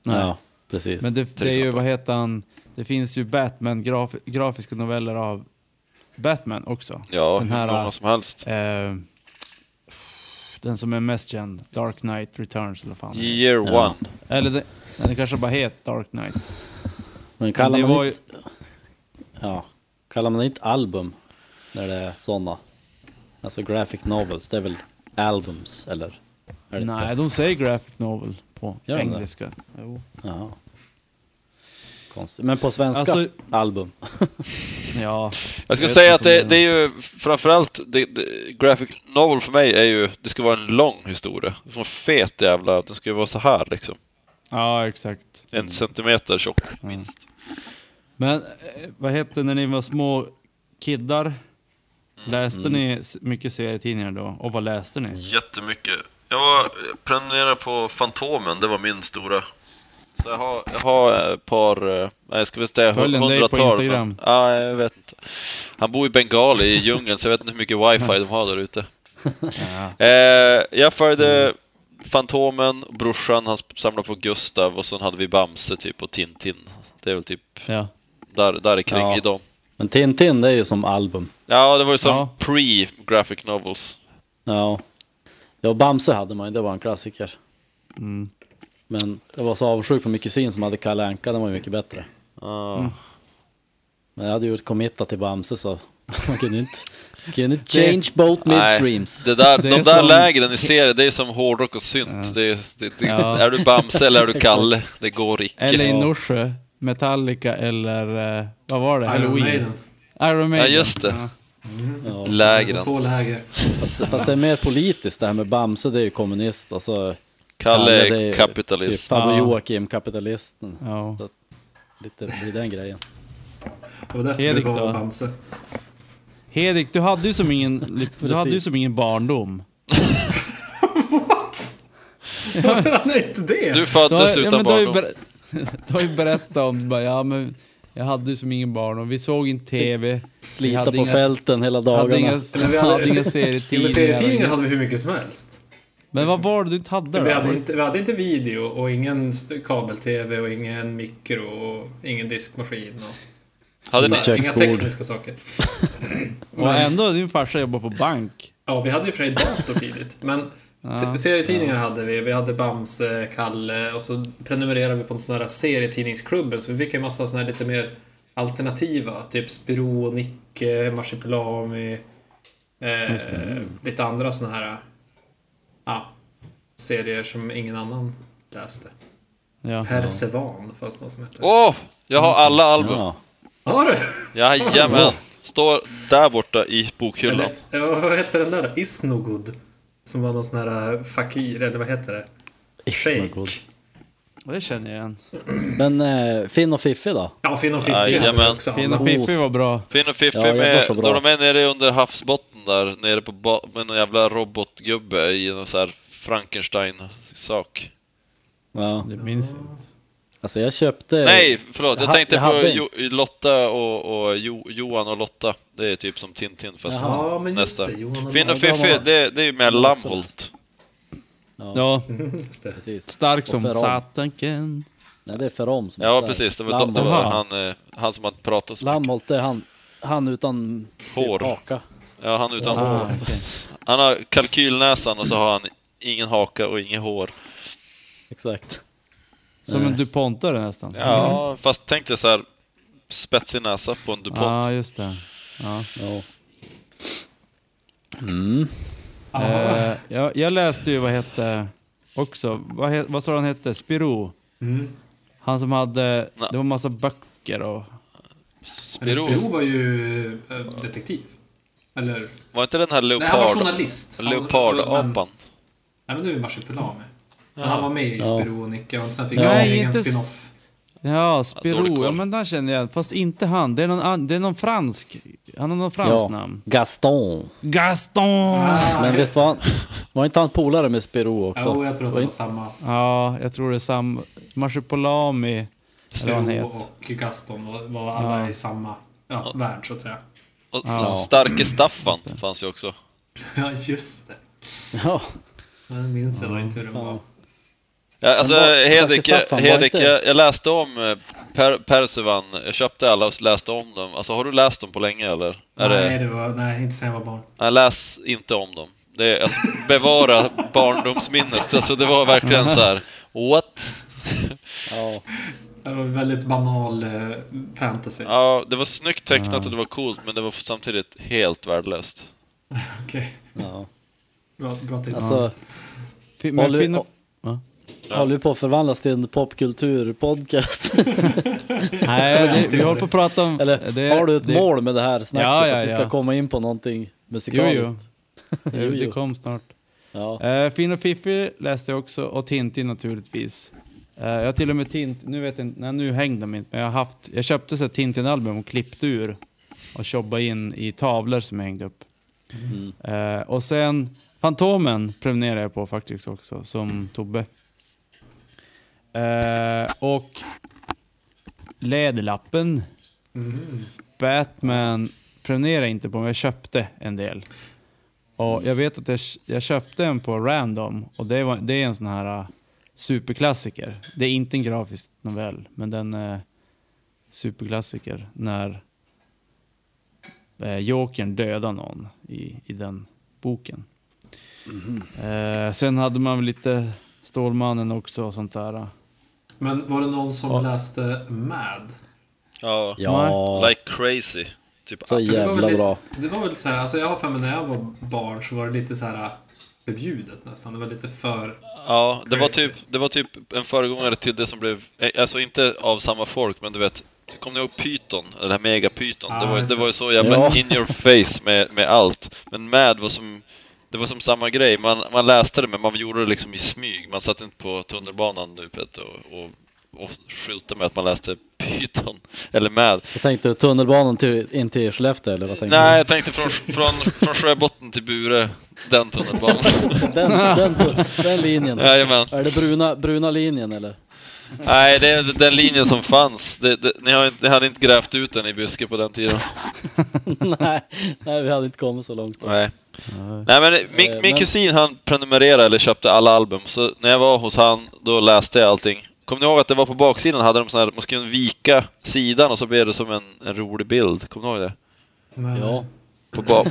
[SPEAKER 1] Nej.
[SPEAKER 2] ja, precis.
[SPEAKER 1] Men det, det är ju,
[SPEAKER 4] exempel.
[SPEAKER 1] vad heter han? Det finns ju Batman, graf, grafiska noveller av Batman också.
[SPEAKER 4] Ja,
[SPEAKER 1] Den
[SPEAKER 4] hur
[SPEAKER 1] här,
[SPEAKER 4] många som helst.
[SPEAKER 1] Eh, den som är mest känd, Dark Knight Returns eller fan.
[SPEAKER 4] Year
[SPEAKER 2] Ja.
[SPEAKER 4] one.
[SPEAKER 1] Eller den, den kanske bara heter Dark Knight.
[SPEAKER 2] Men
[SPEAKER 1] Men
[SPEAKER 2] kallar
[SPEAKER 1] det
[SPEAKER 2] man,
[SPEAKER 1] var ju,
[SPEAKER 2] inte, ja, kallar man inte album när det är sådana? Alltså graphic novels, det är väl albums eller? Är det
[SPEAKER 1] nej,
[SPEAKER 2] Inte?
[SPEAKER 1] de säger graphic novel på
[SPEAKER 2] Gör de det?
[SPEAKER 1] engelska. Jo.
[SPEAKER 2] Jaha. Konstigt. Men på svenska,
[SPEAKER 1] Alltså-
[SPEAKER 2] album.
[SPEAKER 1] Ja,
[SPEAKER 4] Jag skulle
[SPEAKER 1] vet
[SPEAKER 4] säga
[SPEAKER 1] vad
[SPEAKER 4] att
[SPEAKER 1] som
[SPEAKER 4] det,
[SPEAKER 1] är-
[SPEAKER 4] det är ju framförallt, det, det, graphic novel för mig är ju, det ska vara en lång historia. Det ska vara en fet jävla, det ska ju vara så här liksom.
[SPEAKER 1] ja, exakt.
[SPEAKER 4] En centimeter tjock, minst.
[SPEAKER 1] Men eh, vad hette det när ni var små kiddar? Läste ni s- mycket serietidningar då? Och vad läste ni?
[SPEAKER 4] Jättemycket Jag var prenumererade på Fantomen, det var min stora. Så jag har, jag har ett par, eh, nej jag ska väl säga
[SPEAKER 1] Följ en dig på
[SPEAKER 4] hundratal.
[SPEAKER 1] Instagram.
[SPEAKER 4] Men, ja, jag vet inte. Han bor i Bengali i djungeln så jag vet inte hur mycket wifi de har där ute.
[SPEAKER 1] Ja.
[SPEAKER 4] Eh, jag följde
[SPEAKER 1] Mm.
[SPEAKER 4] Fantomen, brorsan, han samlade på Gustav och sen hade vi Bamse typ och Tintin. Det är väl typ
[SPEAKER 1] Ja.
[SPEAKER 4] där, där kring
[SPEAKER 2] Ja.
[SPEAKER 4] i dem.
[SPEAKER 2] Men Tintin det är ju som album.
[SPEAKER 4] Ja, det var ju som
[SPEAKER 1] Ja.
[SPEAKER 4] pre-graphic novels.
[SPEAKER 2] Ja. Ja, Bamse hade man ju, det var en klassiker.
[SPEAKER 1] Mm.
[SPEAKER 2] Men jag var så avundsjuk på min kusin som hade Kalle Anka, den var ju mycket bättre.
[SPEAKER 4] Ja.
[SPEAKER 1] Mm.
[SPEAKER 2] Men jag hade ju committat till Bamse så man kunde inte, kunde inte change both midstreams.
[SPEAKER 4] Det där,
[SPEAKER 1] Det
[SPEAKER 4] de
[SPEAKER 1] är
[SPEAKER 4] där
[SPEAKER 1] som-
[SPEAKER 4] lägren i serien, det är som hårdrock och synt.
[SPEAKER 1] Ja.
[SPEAKER 4] Det, det, det,
[SPEAKER 1] Ja.
[SPEAKER 4] Är du Bamse eller är du Kalle? Det går icke.
[SPEAKER 1] Eller i
[SPEAKER 2] Ja.
[SPEAKER 1] Norsjö, Metallica eller eh, vad var det?
[SPEAKER 3] Iron
[SPEAKER 1] Halloween?
[SPEAKER 3] Maiden.
[SPEAKER 1] Iron Maiden.
[SPEAKER 4] Ja, just det.
[SPEAKER 1] Ja.
[SPEAKER 2] Ja.
[SPEAKER 4] Lägren.
[SPEAKER 3] Två läger.
[SPEAKER 2] Fast, fast det är mer politiskt det här med Bamse, det är ju kommunist och så
[SPEAKER 4] Kalle
[SPEAKER 2] det
[SPEAKER 4] är
[SPEAKER 2] ju Typ
[SPEAKER 4] kapitalist.
[SPEAKER 2] farbror
[SPEAKER 1] Ja.
[SPEAKER 2] Joakim, kapitalisten.
[SPEAKER 1] Ja.
[SPEAKER 2] Lite blir den grejen.
[SPEAKER 3] Det var därför
[SPEAKER 1] Erik
[SPEAKER 3] du
[SPEAKER 1] då?
[SPEAKER 3] var Bamse.
[SPEAKER 1] Hedvig, du hade ju som ingen, du hade ju
[SPEAKER 2] Precis.
[SPEAKER 1] som ingen barndom.
[SPEAKER 3] What? Varför hade jag inte det?
[SPEAKER 4] Du
[SPEAKER 1] Du har-
[SPEAKER 4] föddes utan
[SPEAKER 1] men du har ju
[SPEAKER 4] barndom.
[SPEAKER 1] ber- Du har ju berättat om, bara, ja men jag hade ju som ingen barndom, vi såg inte TV. vi
[SPEAKER 2] Slita
[SPEAKER 1] hade
[SPEAKER 2] på
[SPEAKER 1] inga,
[SPEAKER 2] fälten hela dagarna.
[SPEAKER 1] Hade inga,
[SPEAKER 3] Eller vi
[SPEAKER 1] hade
[SPEAKER 3] hade-
[SPEAKER 1] inga
[SPEAKER 3] Jo, men
[SPEAKER 1] serietidningar.
[SPEAKER 3] serietidningar
[SPEAKER 1] och-
[SPEAKER 3] hade vi hur mycket som helst.
[SPEAKER 1] Men vad var det du inte hade
[SPEAKER 3] Vi hade
[SPEAKER 1] då?
[SPEAKER 3] inte, vi hade inte video och ingen s- kabel-tv och ingen mikro och ingen diskmaskin. Och
[SPEAKER 4] Hade ni,
[SPEAKER 3] sånt där. inga
[SPEAKER 2] Köksbord.
[SPEAKER 3] tekniska saker.
[SPEAKER 1] Och ändå, din farsa jobbar på bank.
[SPEAKER 3] Ja, vi hade ju för sig dator tidigt. Men t-
[SPEAKER 1] Ja.
[SPEAKER 3] serietidningar hade vi. Vi hade Bamse, Kalle och så prenumererade vi på en sån här serietidningsklubben. Så vi fick en massa såna här lite mer alternativa. Typ Spiro, Nicke, Marsipelami. Eh, lite andra såna här ja, serier som ingen annan läste.
[SPEAKER 1] Ja.
[SPEAKER 3] Persevan fanns något som hette.
[SPEAKER 4] Åh! jag
[SPEAKER 1] Mm.
[SPEAKER 4] har alla album.
[SPEAKER 2] Ja.
[SPEAKER 3] Har du?
[SPEAKER 4] Jajamän. Står där borta i bokhyllan.
[SPEAKER 3] Eller, ja, vad hette den där? Isnogod? Som var någon sån här eh, fakir, eller vad heter det?
[SPEAKER 2] Isnagod.
[SPEAKER 1] Det känner jag igen.
[SPEAKER 2] Men eh, Finn och Fiffi då?
[SPEAKER 3] Ja, Finn och Fiffi
[SPEAKER 4] Jajamän.
[SPEAKER 3] hade vi också.
[SPEAKER 1] Fina
[SPEAKER 3] alla.
[SPEAKER 1] Pippi var bra.
[SPEAKER 4] Finn och Fiffi
[SPEAKER 2] Ja, jag var
[SPEAKER 4] med,
[SPEAKER 2] så bra.
[SPEAKER 4] då de är nere under havsbotten där, nere på ba- med någon jävla robotgubbe i någon så här Frankenstein-sak.
[SPEAKER 2] Ja.
[SPEAKER 1] Det minns jag inte.
[SPEAKER 2] Alltså jag köpte...
[SPEAKER 4] Nej, förlåt,
[SPEAKER 2] jag
[SPEAKER 4] jag
[SPEAKER 2] ha-
[SPEAKER 4] tänkte
[SPEAKER 2] jag
[SPEAKER 4] på
[SPEAKER 2] hade
[SPEAKER 4] jo, Lotta och, och jo, Johan och Lotta. Det är typ som Tintin fast
[SPEAKER 2] Jaha.
[SPEAKER 3] Ja, men just
[SPEAKER 4] nästa.
[SPEAKER 3] det. Johan
[SPEAKER 4] Finn och
[SPEAKER 3] Lagerman.
[SPEAKER 4] Fiffi, det, det är ju med
[SPEAKER 2] Jag har också
[SPEAKER 4] Lammhult.
[SPEAKER 1] Ja,
[SPEAKER 3] Just det.
[SPEAKER 2] Precis.
[SPEAKER 1] stark
[SPEAKER 2] Och
[SPEAKER 1] som
[SPEAKER 2] Ferron.
[SPEAKER 1] satanken.
[SPEAKER 2] Nej, det är Ferrom som är
[SPEAKER 4] Ja
[SPEAKER 2] stark.
[SPEAKER 4] precis, det var,
[SPEAKER 2] Lammholt.
[SPEAKER 4] det var
[SPEAKER 1] Jaha.
[SPEAKER 4] han, eh, han som hade pratat så mycket.
[SPEAKER 2] Lammholt, det är han, han utan
[SPEAKER 4] Hår.
[SPEAKER 2] haka.
[SPEAKER 4] Ja, han utan
[SPEAKER 1] Ah,
[SPEAKER 4] hår.
[SPEAKER 1] okej.
[SPEAKER 4] Han har kalkylnäsan och så har han ingen haka och inget hår.
[SPEAKER 2] Exakt.
[SPEAKER 1] Som
[SPEAKER 2] Nej.
[SPEAKER 1] en DuPontare nästan.
[SPEAKER 4] Ja,
[SPEAKER 2] Mm.
[SPEAKER 4] fast tänk dig så här spetsig näsa på en DuPont.
[SPEAKER 1] Ja, just det. Ja.
[SPEAKER 2] Ja.
[SPEAKER 1] Eh, jag, jag läste ju, vad hette, också, vad, he, vad sa han hette, Spiro?
[SPEAKER 3] Mm.
[SPEAKER 1] Han som hade,
[SPEAKER 4] Nej.
[SPEAKER 1] det var massa böcker och...
[SPEAKER 3] Men
[SPEAKER 4] Spiro,
[SPEAKER 3] Spiro var ju eh, detektiv. Eller?
[SPEAKER 4] var inte den här
[SPEAKER 3] Nej, han var
[SPEAKER 4] leopard,
[SPEAKER 3] journalist. Han- men-
[SPEAKER 4] leopardapan?
[SPEAKER 3] Nej, men du är Marsipelami. Men han var med i
[SPEAKER 2] Ja.
[SPEAKER 3] Spiro och Nicke och sen fick
[SPEAKER 1] Nej,
[SPEAKER 3] han en egen
[SPEAKER 1] inte s-
[SPEAKER 3] spin-off.
[SPEAKER 1] Ja,
[SPEAKER 4] Ja, dålig
[SPEAKER 1] Spiro,
[SPEAKER 4] koll.
[SPEAKER 1] ja men den känner jag, fast inte han, det är någon, an- det är någon fransk, han har någon fransk
[SPEAKER 2] ja.
[SPEAKER 1] namn.
[SPEAKER 2] Gaston.
[SPEAKER 1] Gaston!
[SPEAKER 3] Ah,
[SPEAKER 2] Men
[SPEAKER 3] just-
[SPEAKER 2] visst var han, var inte han polare med Spiro också?
[SPEAKER 3] Jo, jag tror att det var samma.
[SPEAKER 1] Ja, jag tror det är sam... Marsipolami, eller vad han
[SPEAKER 3] Spiro
[SPEAKER 1] heter.
[SPEAKER 3] och Gaston var, var alla i samma ja, värld, så att säga.
[SPEAKER 4] Och, och
[SPEAKER 2] Mm,
[SPEAKER 4] starke Staffan fanns ju också.
[SPEAKER 3] Ja, just det.
[SPEAKER 2] Ja.
[SPEAKER 3] Men det minns jag då inte hur den var.
[SPEAKER 4] Ja, alltså
[SPEAKER 2] Men vad- Starke
[SPEAKER 4] Hedek,
[SPEAKER 2] Staffan, var
[SPEAKER 4] Hedek
[SPEAKER 2] inte-
[SPEAKER 4] jag, jag läste om eh, per, Persevan, jag köpte alla och läste om dem. Alltså har du läst dem på länge eller? Är
[SPEAKER 3] Nej,
[SPEAKER 4] det,
[SPEAKER 3] det var, nej, inte sen jag var barn.
[SPEAKER 4] nej, läs inte om dem. Det är, alltså, bevara barndomsminnet. Alltså det var verkligen så här. what?
[SPEAKER 2] ja.
[SPEAKER 3] Det var väldigt banal eh, fantasy.
[SPEAKER 4] Ja, det var snyggt tecknat och det var coolt men det var samtidigt helt värdelöst.
[SPEAKER 3] Okej,
[SPEAKER 2] ja.
[SPEAKER 3] bra, bra tips.
[SPEAKER 2] Alltså,
[SPEAKER 1] Fi- Men
[SPEAKER 2] Håller-
[SPEAKER 1] finna...
[SPEAKER 4] Ja.
[SPEAKER 2] håller ju på att förvandlas till en popkulturpodcast.
[SPEAKER 1] Nej, det, vi håller på att prata om...
[SPEAKER 2] Eller
[SPEAKER 1] det,
[SPEAKER 2] har du ett
[SPEAKER 1] det,
[SPEAKER 2] mål med det här snacket?
[SPEAKER 1] Ja, ja,
[SPEAKER 2] att vi ska
[SPEAKER 1] ja.
[SPEAKER 2] komma in på någonting
[SPEAKER 1] Jo,
[SPEAKER 2] musikaliskt?
[SPEAKER 1] jo. Det,
[SPEAKER 2] Jo,
[SPEAKER 1] det
[SPEAKER 2] jo.
[SPEAKER 1] kom snart.
[SPEAKER 2] Ja.
[SPEAKER 1] Eh, Finn och Fiffi läste jag också, och Tintin naturligtvis. Eh, jag har till och med Tintin, nu vet jag inte, nej, nu hängde de inte, men jag har haft, jag köpte så här Tintin-album och klippte ur och jobbade in i tavlor som jag hängde upp. Eh, och sen Fantomen prenumererar jag på faktiskt också, som Tobbe. Eh, och Läderlappen. Batman prenumererar jag inte på, men jag köpte en del. Och jag vet att jag, jag köpte en på random och det, var, det är en sån här eh, superklassiker. Det är inte en grafisk novell, men den är superklassiker när eh, Jokern dödar någon i, i den boken. Eh, sen hade man väl lite Stålmannen också och sånt där.
[SPEAKER 3] Men var det någon som
[SPEAKER 1] Ja.
[SPEAKER 3] läste Mad?
[SPEAKER 4] Ja,
[SPEAKER 2] Ja,
[SPEAKER 4] like crazy. Typ
[SPEAKER 2] så
[SPEAKER 3] För det var väl
[SPEAKER 2] jävla
[SPEAKER 3] lite-
[SPEAKER 2] bra.
[SPEAKER 3] Det var väl så här, alltså jag har för mig när jag var barn så var det lite så här äh, förbjudet nästan. Det var lite för...
[SPEAKER 4] Ja, det var,
[SPEAKER 3] Crazy.
[SPEAKER 4] typ, det var typ en föregångare till det som blev, eh, alltså inte av samma folk, men du vet, kommer ni ihåg Python? Den här Mega Python?
[SPEAKER 3] Ah,
[SPEAKER 4] det, var,
[SPEAKER 3] just
[SPEAKER 4] det
[SPEAKER 3] det.
[SPEAKER 4] var ju så jävla
[SPEAKER 2] Ja.
[SPEAKER 4] in your face med, med allt. Men Mad var som, det var som samma grej, man, man läste det men man gjorde det liksom i smyg. Man satt inte på tunnelbanan nu vet, och, och, och skyltade med att man läste Python, eller Mad.
[SPEAKER 2] Jag tänkte tunnelbanan till, in till Skellefteå eller vad tänkte
[SPEAKER 4] Nej, jag tänkte från, från, från Sjöbotten till Bure, den tunnelbanan.
[SPEAKER 2] du? Den, den, den linjen.
[SPEAKER 4] Jajamän.
[SPEAKER 2] Är det bruna, bruna linjen eller?
[SPEAKER 4] Nej, det är den linjen som fanns. Det, det, ni, har, inte- ni hade inte grävt ut den i buske på den tiden.
[SPEAKER 2] nej, nej, vi hade inte kommit så långt. Då.
[SPEAKER 4] Nej. Nej men
[SPEAKER 2] Eh,
[SPEAKER 4] min, min
[SPEAKER 2] men-
[SPEAKER 4] kusin han prenumererade eller köpte alla album, så när jag var hos han då läste jag allting. Kommer ni ihåg att det var på baksidan hade de sån här, man skulle vika sidan och så blev det som en, en rolig bild. Kommer ni ihåg det?
[SPEAKER 2] Ja,
[SPEAKER 4] På ba,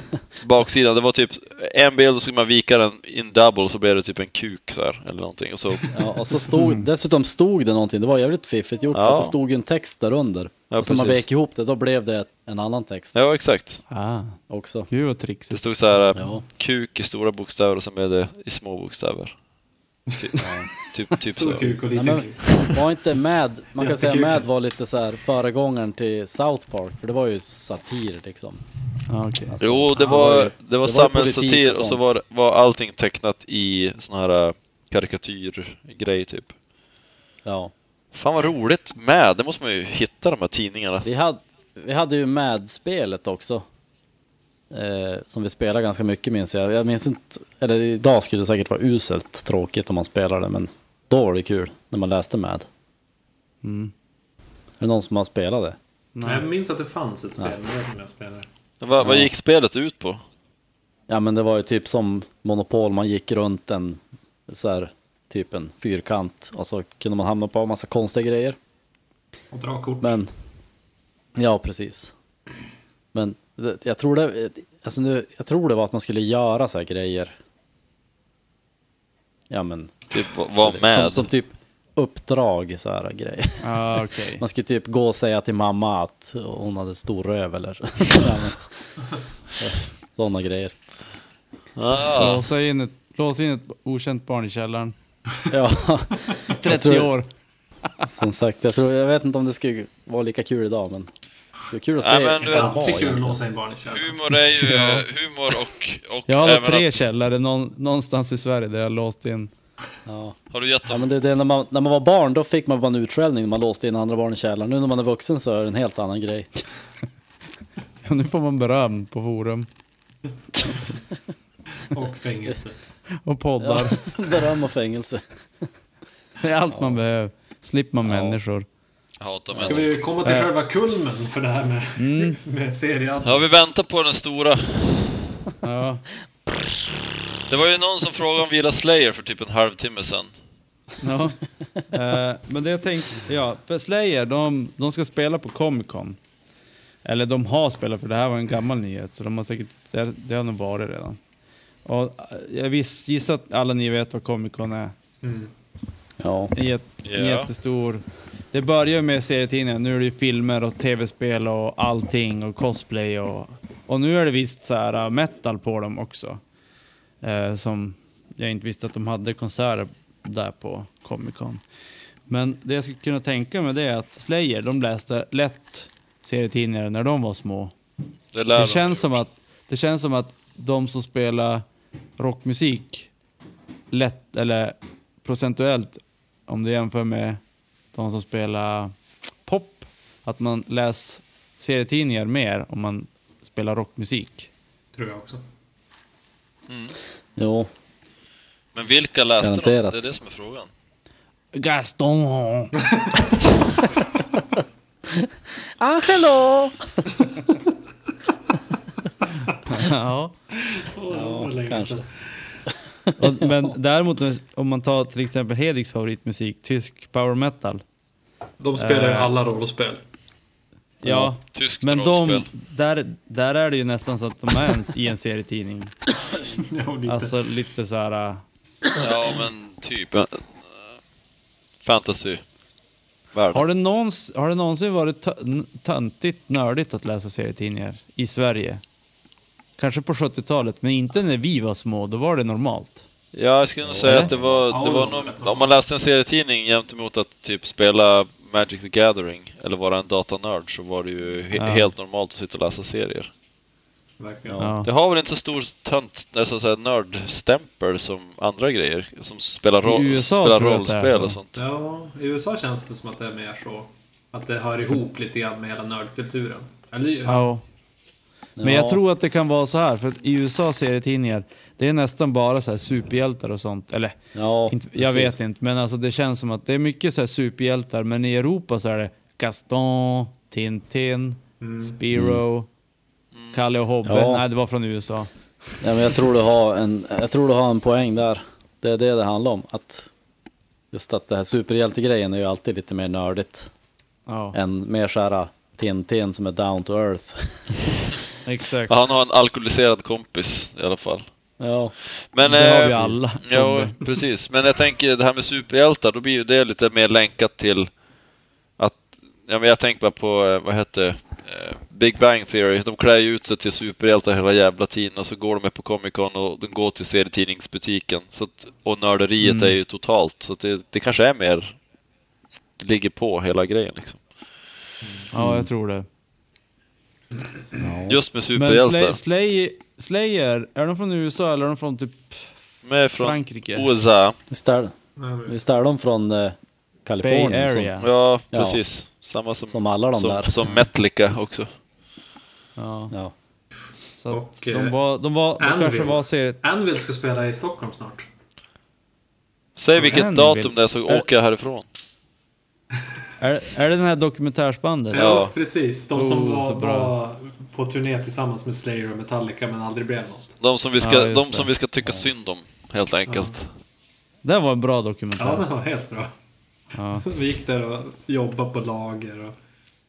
[SPEAKER 4] baksidan, det var typ en bild och så skulle man vika den in double så blev det typ en kuk så här eller någonting. Och så,
[SPEAKER 2] ja, och så stod,
[SPEAKER 1] Mm.
[SPEAKER 2] dessutom stod det någonting. Det var jävligt fiffigt gjort för
[SPEAKER 4] Ja.
[SPEAKER 2] att det stod ju en text där under.
[SPEAKER 4] Ja,
[SPEAKER 2] och så när man
[SPEAKER 4] precis.
[SPEAKER 2] vek ihop det, då blev det en annan text
[SPEAKER 4] ja exakt.
[SPEAKER 1] Ah,
[SPEAKER 2] också.
[SPEAKER 1] gud vad
[SPEAKER 4] Det
[SPEAKER 1] trixigt.
[SPEAKER 4] stod så här
[SPEAKER 2] Ja.
[SPEAKER 4] kuk i stora bokstäver och sen blev det i små bokstäver. Typ, typ, typ så.
[SPEAKER 3] Stor kuk och
[SPEAKER 2] Nej,
[SPEAKER 3] liten
[SPEAKER 2] men
[SPEAKER 3] kuk.
[SPEAKER 2] var inte Mad, man kan säga
[SPEAKER 3] Jättekul.
[SPEAKER 2] Mad var lite så här föregångaren till South Park, för det var ju satir liksom.
[SPEAKER 1] Ah, okej.
[SPEAKER 2] Alltså,
[SPEAKER 4] Jo, det
[SPEAKER 2] han ju-
[SPEAKER 4] var, det var
[SPEAKER 2] det var ju politik
[SPEAKER 4] samhällssatir
[SPEAKER 2] och
[SPEAKER 4] och, så
[SPEAKER 2] sånt.
[SPEAKER 4] var, var allting tecknat i sån här äh, karikatyrgrej typ.
[SPEAKER 2] Ja.
[SPEAKER 4] Fan vad roligt med, det måste man ju hitta de här tidningarna.
[SPEAKER 2] Vi hade, vi hade ju Mad-spelet också. Eh, som vi spelade ganska mycket minns jag. Jag minns inte, eller idag skulle det säkert vara uselt tråkigt om man spelade, men då var det kul när man läste Mad.
[SPEAKER 1] Mm.
[SPEAKER 2] Är det någon som har spelat det?
[SPEAKER 3] Jag minns att det fanns ett spel, men jag vet inte om jag spelade.
[SPEAKER 4] Vad, vad gick spelet ut på?
[SPEAKER 2] Ja men det var ju typ som Monopol, man gick runt en så här typ en fyrkant och så kunde man hamna på en massa konstiga grejer.
[SPEAKER 3] Och dra kort.
[SPEAKER 2] Men, ja precis. Men det- jag tror det, alltså nu, jag tror det var att man skulle göra så här grejer. Ja men,
[SPEAKER 4] Typ vad- vad
[SPEAKER 2] som,
[SPEAKER 4] med?
[SPEAKER 2] som typ uppdrag så här grejer.
[SPEAKER 1] Ah, okej.
[SPEAKER 2] Man skulle typ gå och säga till mamma att hon hade stor röv eller ja, men, sådana grejer.
[SPEAKER 4] Ah,
[SPEAKER 1] Låsa, in ett, låsa in ett okänt barn i källaren.
[SPEAKER 2] Ja.
[SPEAKER 1] 30
[SPEAKER 2] tror-
[SPEAKER 1] år.
[SPEAKER 2] Som sagt, jag, tror, jag vet inte om det skulle vara lika kul idag, men det är kul att se.
[SPEAKER 4] Nej, men du
[SPEAKER 3] det är
[SPEAKER 2] vad
[SPEAKER 4] vet-
[SPEAKER 2] de har
[SPEAKER 3] alltid kul att
[SPEAKER 2] egentligen.
[SPEAKER 3] låsa in barn i köket.
[SPEAKER 4] humor är ju eh, humor och, och
[SPEAKER 1] Jag har
[SPEAKER 4] även
[SPEAKER 1] tre
[SPEAKER 4] att,
[SPEAKER 1] källare någon, någonstans i Sverige där jag låst in.
[SPEAKER 2] Ja.
[SPEAKER 4] Har du gett
[SPEAKER 2] ja,
[SPEAKER 4] dem?
[SPEAKER 2] men det, är det, när, man, när man var barn, då fick man bara en utskällning. Man låste in andra barn i källaren. Nu när man är vuxen så är det en helt annan grej.
[SPEAKER 1] Nu får man beröm på forum
[SPEAKER 3] Och fängelse.
[SPEAKER 1] och poddar.
[SPEAKER 2] Beröm och fängelse.
[SPEAKER 1] Det är allt man behöver. Slipper man
[SPEAKER 2] Ja.
[SPEAKER 1] människor.
[SPEAKER 4] Jag hatar
[SPEAKER 3] Ska
[SPEAKER 4] människor.
[SPEAKER 3] vi komma till
[SPEAKER 2] Eh.
[SPEAKER 3] själva kulmen för det här med,
[SPEAKER 2] Mm.
[SPEAKER 3] med serien?
[SPEAKER 4] Ja, vi väntar på den stora.
[SPEAKER 1] Ja.
[SPEAKER 4] Det var ju någon som frågade om vi gillar Slayer för typ en halvtimme sedan.
[SPEAKER 1] Ja. Eh, men det jag tänkte, ja, för Slayer, de, de ska spela på Comic Con. Eller de har spelat, för det här var en gammal nyhet, så de har säkert, det, det har nog varit redan. Och eh, jag viss, gissar att alla ni vet vad Comic Con är.
[SPEAKER 3] Mm.
[SPEAKER 2] Ja,
[SPEAKER 1] En jät-
[SPEAKER 4] Ja.
[SPEAKER 1] jättestor... Det börjar med serietidningar, nu är det ju filmer och tv-spel och allting och cosplay och... Och nu är det visst så här äh, metal på dem också. Eh, som jag inte visste att de hade konserter där på Comic Con. Men det jag skulle kunna tänka mig det är att Slayer, de läste lätt serietidningar när de var små.
[SPEAKER 4] Det lär
[SPEAKER 1] Det
[SPEAKER 4] de.
[SPEAKER 1] känns som att, det känns som att de som spelar rockmusik lätt, eller procentuellt, om du jämför med de som spelar pop, att man läser serietidningar mer om man spelar rockmusik.
[SPEAKER 3] Tror jag också.
[SPEAKER 2] Jo,
[SPEAKER 4] Men vilka läste de?
[SPEAKER 2] Garanterat.
[SPEAKER 4] Det är det som är frågan.
[SPEAKER 1] Gaston!
[SPEAKER 5] Angelo!
[SPEAKER 1] ja.
[SPEAKER 3] Åh, det var länge sedan.
[SPEAKER 1] Och, men däremot om man tar till exempel Hediks favoritmusik, tysk power metal.
[SPEAKER 3] De spelar ju
[SPEAKER 1] Eh.
[SPEAKER 3] alla rollspel.
[SPEAKER 1] Ja,
[SPEAKER 4] Tyskt
[SPEAKER 1] men
[SPEAKER 4] rollspel.
[SPEAKER 1] de, där, där är det ju nästan så att de är en, i en serietidning.
[SPEAKER 3] Ja, lite.
[SPEAKER 1] Alltså lite så här. äh,
[SPEAKER 4] Ja men typ. eh, Fantasy.
[SPEAKER 1] Har
[SPEAKER 4] Värld.
[SPEAKER 1] det, någons, har det någonsin varit tö- n- töntigt, nördigt att läsa serietidningar i Sverige? Kanske på 70-talet, men inte när vi var små, då var det normalt.
[SPEAKER 4] Ja, jag skulle nog säga
[SPEAKER 1] eller?
[SPEAKER 4] att det var, det
[SPEAKER 3] Ja,
[SPEAKER 4] var
[SPEAKER 3] det var rätt
[SPEAKER 4] nog, om man läste en serietidning gentemot att typ spela Magic the Gathering eller vara en datanörd så var det ju he-
[SPEAKER 1] Ja.
[SPEAKER 4] helt normalt att sitta och läsa serier.
[SPEAKER 3] Verkligen.
[SPEAKER 1] Ja.
[SPEAKER 4] Det har väl inte så stor tönt, eller så att säga nördstämpel som andra grejer som spelar, roll,
[SPEAKER 1] I USA
[SPEAKER 4] spelar
[SPEAKER 1] tror jag att det är
[SPEAKER 4] rollspel
[SPEAKER 1] så.
[SPEAKER 4] och sånt.
[SPEAKER 3] Ja, i USA känns det som att det är mer så. Att det hör ihop lite grann med hela nördkulturen. Eller,
[SPEAKER 1] Ja. Men
[SPEAKER 2] Ja.
[SPEAKER 1] jag tror att det kan vara så här, för att i USA serietidningar, det är nästan bara så här superhjältar och sånt. Eller,
[SPEAKER 2] ja.
[SPEAKER 1] inte, jag
[SPEAKER 2] precis.
[SPEAKER 1] vet inte, men alltså det känns som att det är mycket så här superhjältar, men i Europa så är det Gaston, Tintin, Spiro, Kalle och Hobbe.
[SPEAKER 2] Ja.
[SPEAKER 1] Nej, det var från USA.
[SPEAKER 2] Ja, men jag tror du har en, jag tror du har en poäng där. Det är det det handlar om. Att just att det här superhjältegrejen är ju alltid lite mer nördigt
[SPEAKER 1] Ja,
[SPEAKER 2] än mer såhär Tintin som är down to earth.
[SPEAKER 1] exakt.
[SPEAKER 4] Ja, han har en alkoholiserad kompis i alla fall.
[SPEAKER 2] ja,
[SPEAKER 4] Men,
[SPEAKER 1] Det har
[SPEAKER 4] eh,
[SPEAKER 1] vi alla,
[SPEAKER 4] Ja,
[SPEAKER 1] Tobbe.
[SPEAKER 4] precis. Men jag tänker det här med superhjältar, då blir ju det lite mer länkat till att... Ja, men jag tänker bara på, eh, vad hette det? Eh, Big Bang Theory. De klär ju ut sig till superhjältar hela jävla tiden och så går de med på Comic Con och de går till serietidningsbutiken. Så att, och nörderiet
[SPEAKER 1] Mm.
[SPEAKER 4] är ju totalt, så att det, det kanske är mer... Ligger på hela grejen liksom.
[SPEAKER 1] Ja, jag tror det.
[SPEAKER 4] Just med
[SPEAKER 1] Men Slay,
[SPEAKER 4] superhjältar.
[SPEAKER 1] Slay, Slayer, är de från USA eller är de från typ
[SPEAKER 4] med från
[SPEAKER 1] Frankrike?
[SPEAKER 4] USA.
[SPEAKER 2] vi ställer,
[SPEAKER 3] Nej, men-
[SPEAKER 2] vi ställer dem från eh, Kalifornien.
[SPEAKER 1] Bay
[SPEAKER 2] som-
[SPEAKER 1] Area.
[SPEAKER 4] Ja,
[SPEAKER 2] Ja.
[SPEAKER 4] precis. Samma som,
[SPEAKER 2] Som alla de
[SPEAKER 4] som,
[SPEAKER 2] där.
[SPEAKER 4] som Metallica också.
[SPEAKER 1] Ja,
[SPEAKER 2] Ja.
[SPEAKER 1] så att
[SPEAKER 3] Och,
[SPEAKER 1] de
[SPEAKER 3] eh,
[SPEAKER 1] var, de var, de
[SPEAKER 3] Anvil.
[SPEAKER 1] kanske var seriet...
[SPEAKER 3] Anvil ska spela i Stockholm snart.
[SPEAKER 4] Säg vilket
[SPEAKER 1] en
[SPEAKER 4] datum
[SPEAKER 1] bild.
[SPEAKER 4] det är så
[SPEAKER 1] Är-
[SPEAKER 4] åker jag härifrån.
[SPEAKER 1] Är, är det den här dokumentärsbandet?
[SPEAKER 3] Ja,
[SPEAKER 4] Ja.
[SPEAKER 3] precis. De som
[SPEAKER 1] Oh,
[SPEAKER 3] var,
[SPEAKER 1] så bra.
[SPEAKER 3] var på turné tillsammans med Slayer och Metallica men aldrig blev något.
[SPEAKER 4] De som vi ska,
[SPEAKER 1] Ja, just
[SPEAKER 4] de
[SPEAKER 1] det.
[SPEAKER 4] som vi ska tycka synd om, helt enkelt.
[SPEAKER 1] Det var en bra
[SPEAKER 3] Ja,
[SPEAKER 1] dokumentär.
[SPEAKER 3] det var helt bra.
[SPEAKER 1] Ja.
[SPEAKER 3] Vi gick där och jobbade på lager och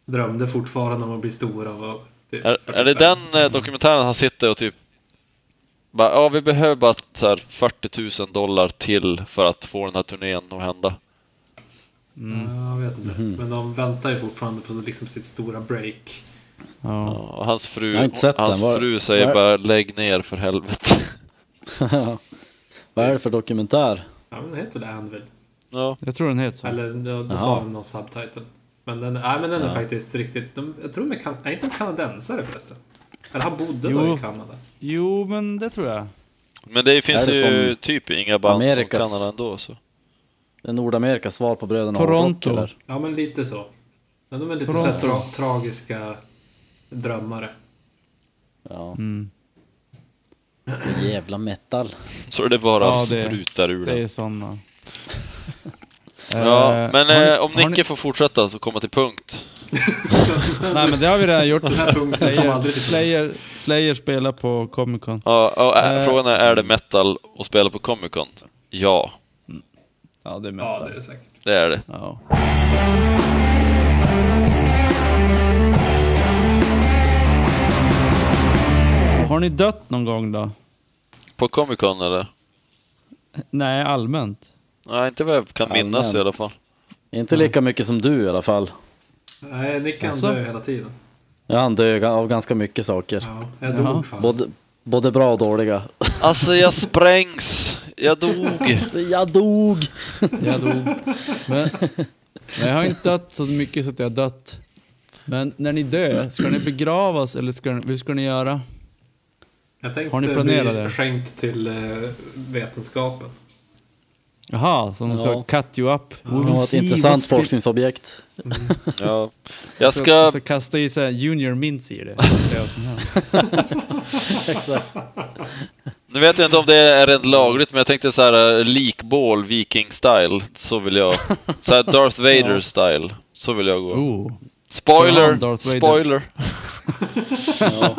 [SPEAKER 3] drömde fortfarande om att bli stora. och var typ
[SPEAKER 4] Är, är det
[SPEAKER 3] 45.
[SPEAKER 4] den eh, dokumentären han sitter och typ bara, ja vi behöver bara så här 40 000 dollar till för att få den här turnén att hända.
[SPEAKER 3] Ja, jag vet inte. Men de väntar ju fortfarande på liksom sitt stora break.
[SPEAKER 1] Ja.
[SPEAKER 4] Ja, och hans fru,
[SPEAKER 2] Jag har inte sett
[SPEAKER 4] hans
[SPEAKER 2] den. Var-
[SPEAKER 4] fru säger
[SPEAKER 2] var-
[SPEAKER 4] bara lägg ner för helvete.
[SPEAKER 2] Vad är det för dokumentär?
[SPEAKER 3] Ja, men den heter väl Anvil?
[SPEAKER 4] Ja,
[SPEAKER 1] Jag tror den heter så.
[SPEAKER 3] Eller ja, då sa de någon subtitle. Men den, nej, men den är faktiskt riktigt... De, jag tror de är, kan, är inte de kanadensare förresten? Eller han bodde då
[SPEAKER 1] Jo.
[SPEAKER 3] i Kanada.
[SPEAKER 1] Jo, men det tror jag.
[SPEAKER 4] men det finns
[SPEAKER 2] Är det
[SPEAKER 4] ju
[SPEAKER 2] som
[SPEAKER 4] typ inga band
[SPEAKER 2] Amerikas-
[SPEAKER 4] från Kanada ändå så.
[SPEAKER 2] Det är Nordamerikas svar på bröderna
[SPEAKER 1] Toronto.
[SPEAKER 2] Hårdrock, eller?
[SPEAKER 3] Ja, men lite så. Men de är lite så
[SPEAKER 1] Toronto.
[SPEAKER 3] här tra, tragiska drömmare.
[SPEAKER 2] Ja.
[SPEAKER 1] Mm.
[SPEAKER 2] Jävla metal.
[SPEAKER 4] Så det bara
[SPEAKER 1] Ja, det-
[SPEAKER 4] sprutar ur
[SPEAKER 1] Det
[SPEAKER 4] den.
[SPEAKER 1] är sådana.
[SPEAKER 4] Ja,
[SPEAKER 1] Eh,
[SPEAKER 4] men
[SPEAKER 1] har ni-
[SPEAKER 4] eh, om
[SPEAKER 1] har ni-
[SPEAKER 4] Nicke får fortsätta så komma till punkt.
[SPEAKER 1] Nej, men det har vi redan gjort.
[SPEAKER 3] Den här punkten kommer
[SPEAKER 1] Slayer,
[SPEAKER 3] aldrig till
[SPEAKER 1] Slayer, Slayer spelar på Comic Con.
[SPEAKER 4] Ja, och är,
[SPEAKER 1] Eh.
[SPEAKER 4] frågan är, är det metal att spela på Comic Con? Ja,
[SPEAKER 1] Ja, det är
[SPEAKER 3] Ja,
[SPEAKER 1] metal.
[SPEAKER 3] det är det säkert.
[SPEAKER 4] det är det.
[SPEAKER 1] Ja. Har ni dött någon gång då?
[SPEAKER 4] På Comic Con eller?
[SPEAKER 1] Nej, allmänt.
[SPEAKER 4] Nej, inte vad jag kan
[SPEAKER 2] Allmänt.
[SPEAKER 4] minnas i alla fall.
[SPEAKER 2] Inte lika mycket som du i alla fall.
[SPEAKER 3] Nej, Nick han
[SPEAKER 1] Alltså?
[SPEAKER 3] dör hela tiden.
[SPEAKER 2] Ja, han dör av ganska mycket saker.
[SPEAKER 3] Ja, jag
[SPEAKER 1] Jaha.
[SPEAKER 3] dog fan.
[SPEAKER 2] Både, både bra och dåliga.
[SPEAKER 4] Alltså jag sprängs! Jag dog!
[SPEAKER 2] Så jag dog!
[SPEAKER 1] Jag dog. Men, men jag har inte dött så mycket så att jag har dött. Men när ni dör, ska ni begravas eller ska ni, hur ska ni göra?
[SPEAKER 3] Jag tänkte
[SPEAKER 1] Har ni planerat
[SPEAKER 3] bli
[SPEAKER 1] det?
[SPEAKER 3] skänkt till eh, vetenskapen.
[SPEAKER 1] Jaha, som de
[SPEAKER 2] Ja.
[SPEAKER 1] sa, cut you up. We
[SPEAKER 2] Det
[SPEAKER 1] will
[SPEAKER 2] var ett
[SPEAKER 1] see
[SPEAKER 2] intressant
[SPEAKER 1] what's been-
[SPEAKER 2] forskningsobjekt.
[SPEAKER 4] Ja. Jag
[SPEAKER 1] Så-
[SPEAKER 4] ska...
[SPEAKER 1] Så kasta i sig en junior mints i det. och se vad som händer.
[SPEAKER 2] Exakt.
[SPEAKER 4] Nu vet jag inte om det är rent lagligt, men jag tänkte så här eh, likbål viking style. Så vill jag. Så här Darth Vader style. Så vill jag gå.
[SPEAKER 1] Oh. Ja,
[SPEAKER 4] Spoiler!
[SPEAKER 1] Darth Vader.
[SPEAKER 4] Spoiler!
[SPEAKER 2] Ja.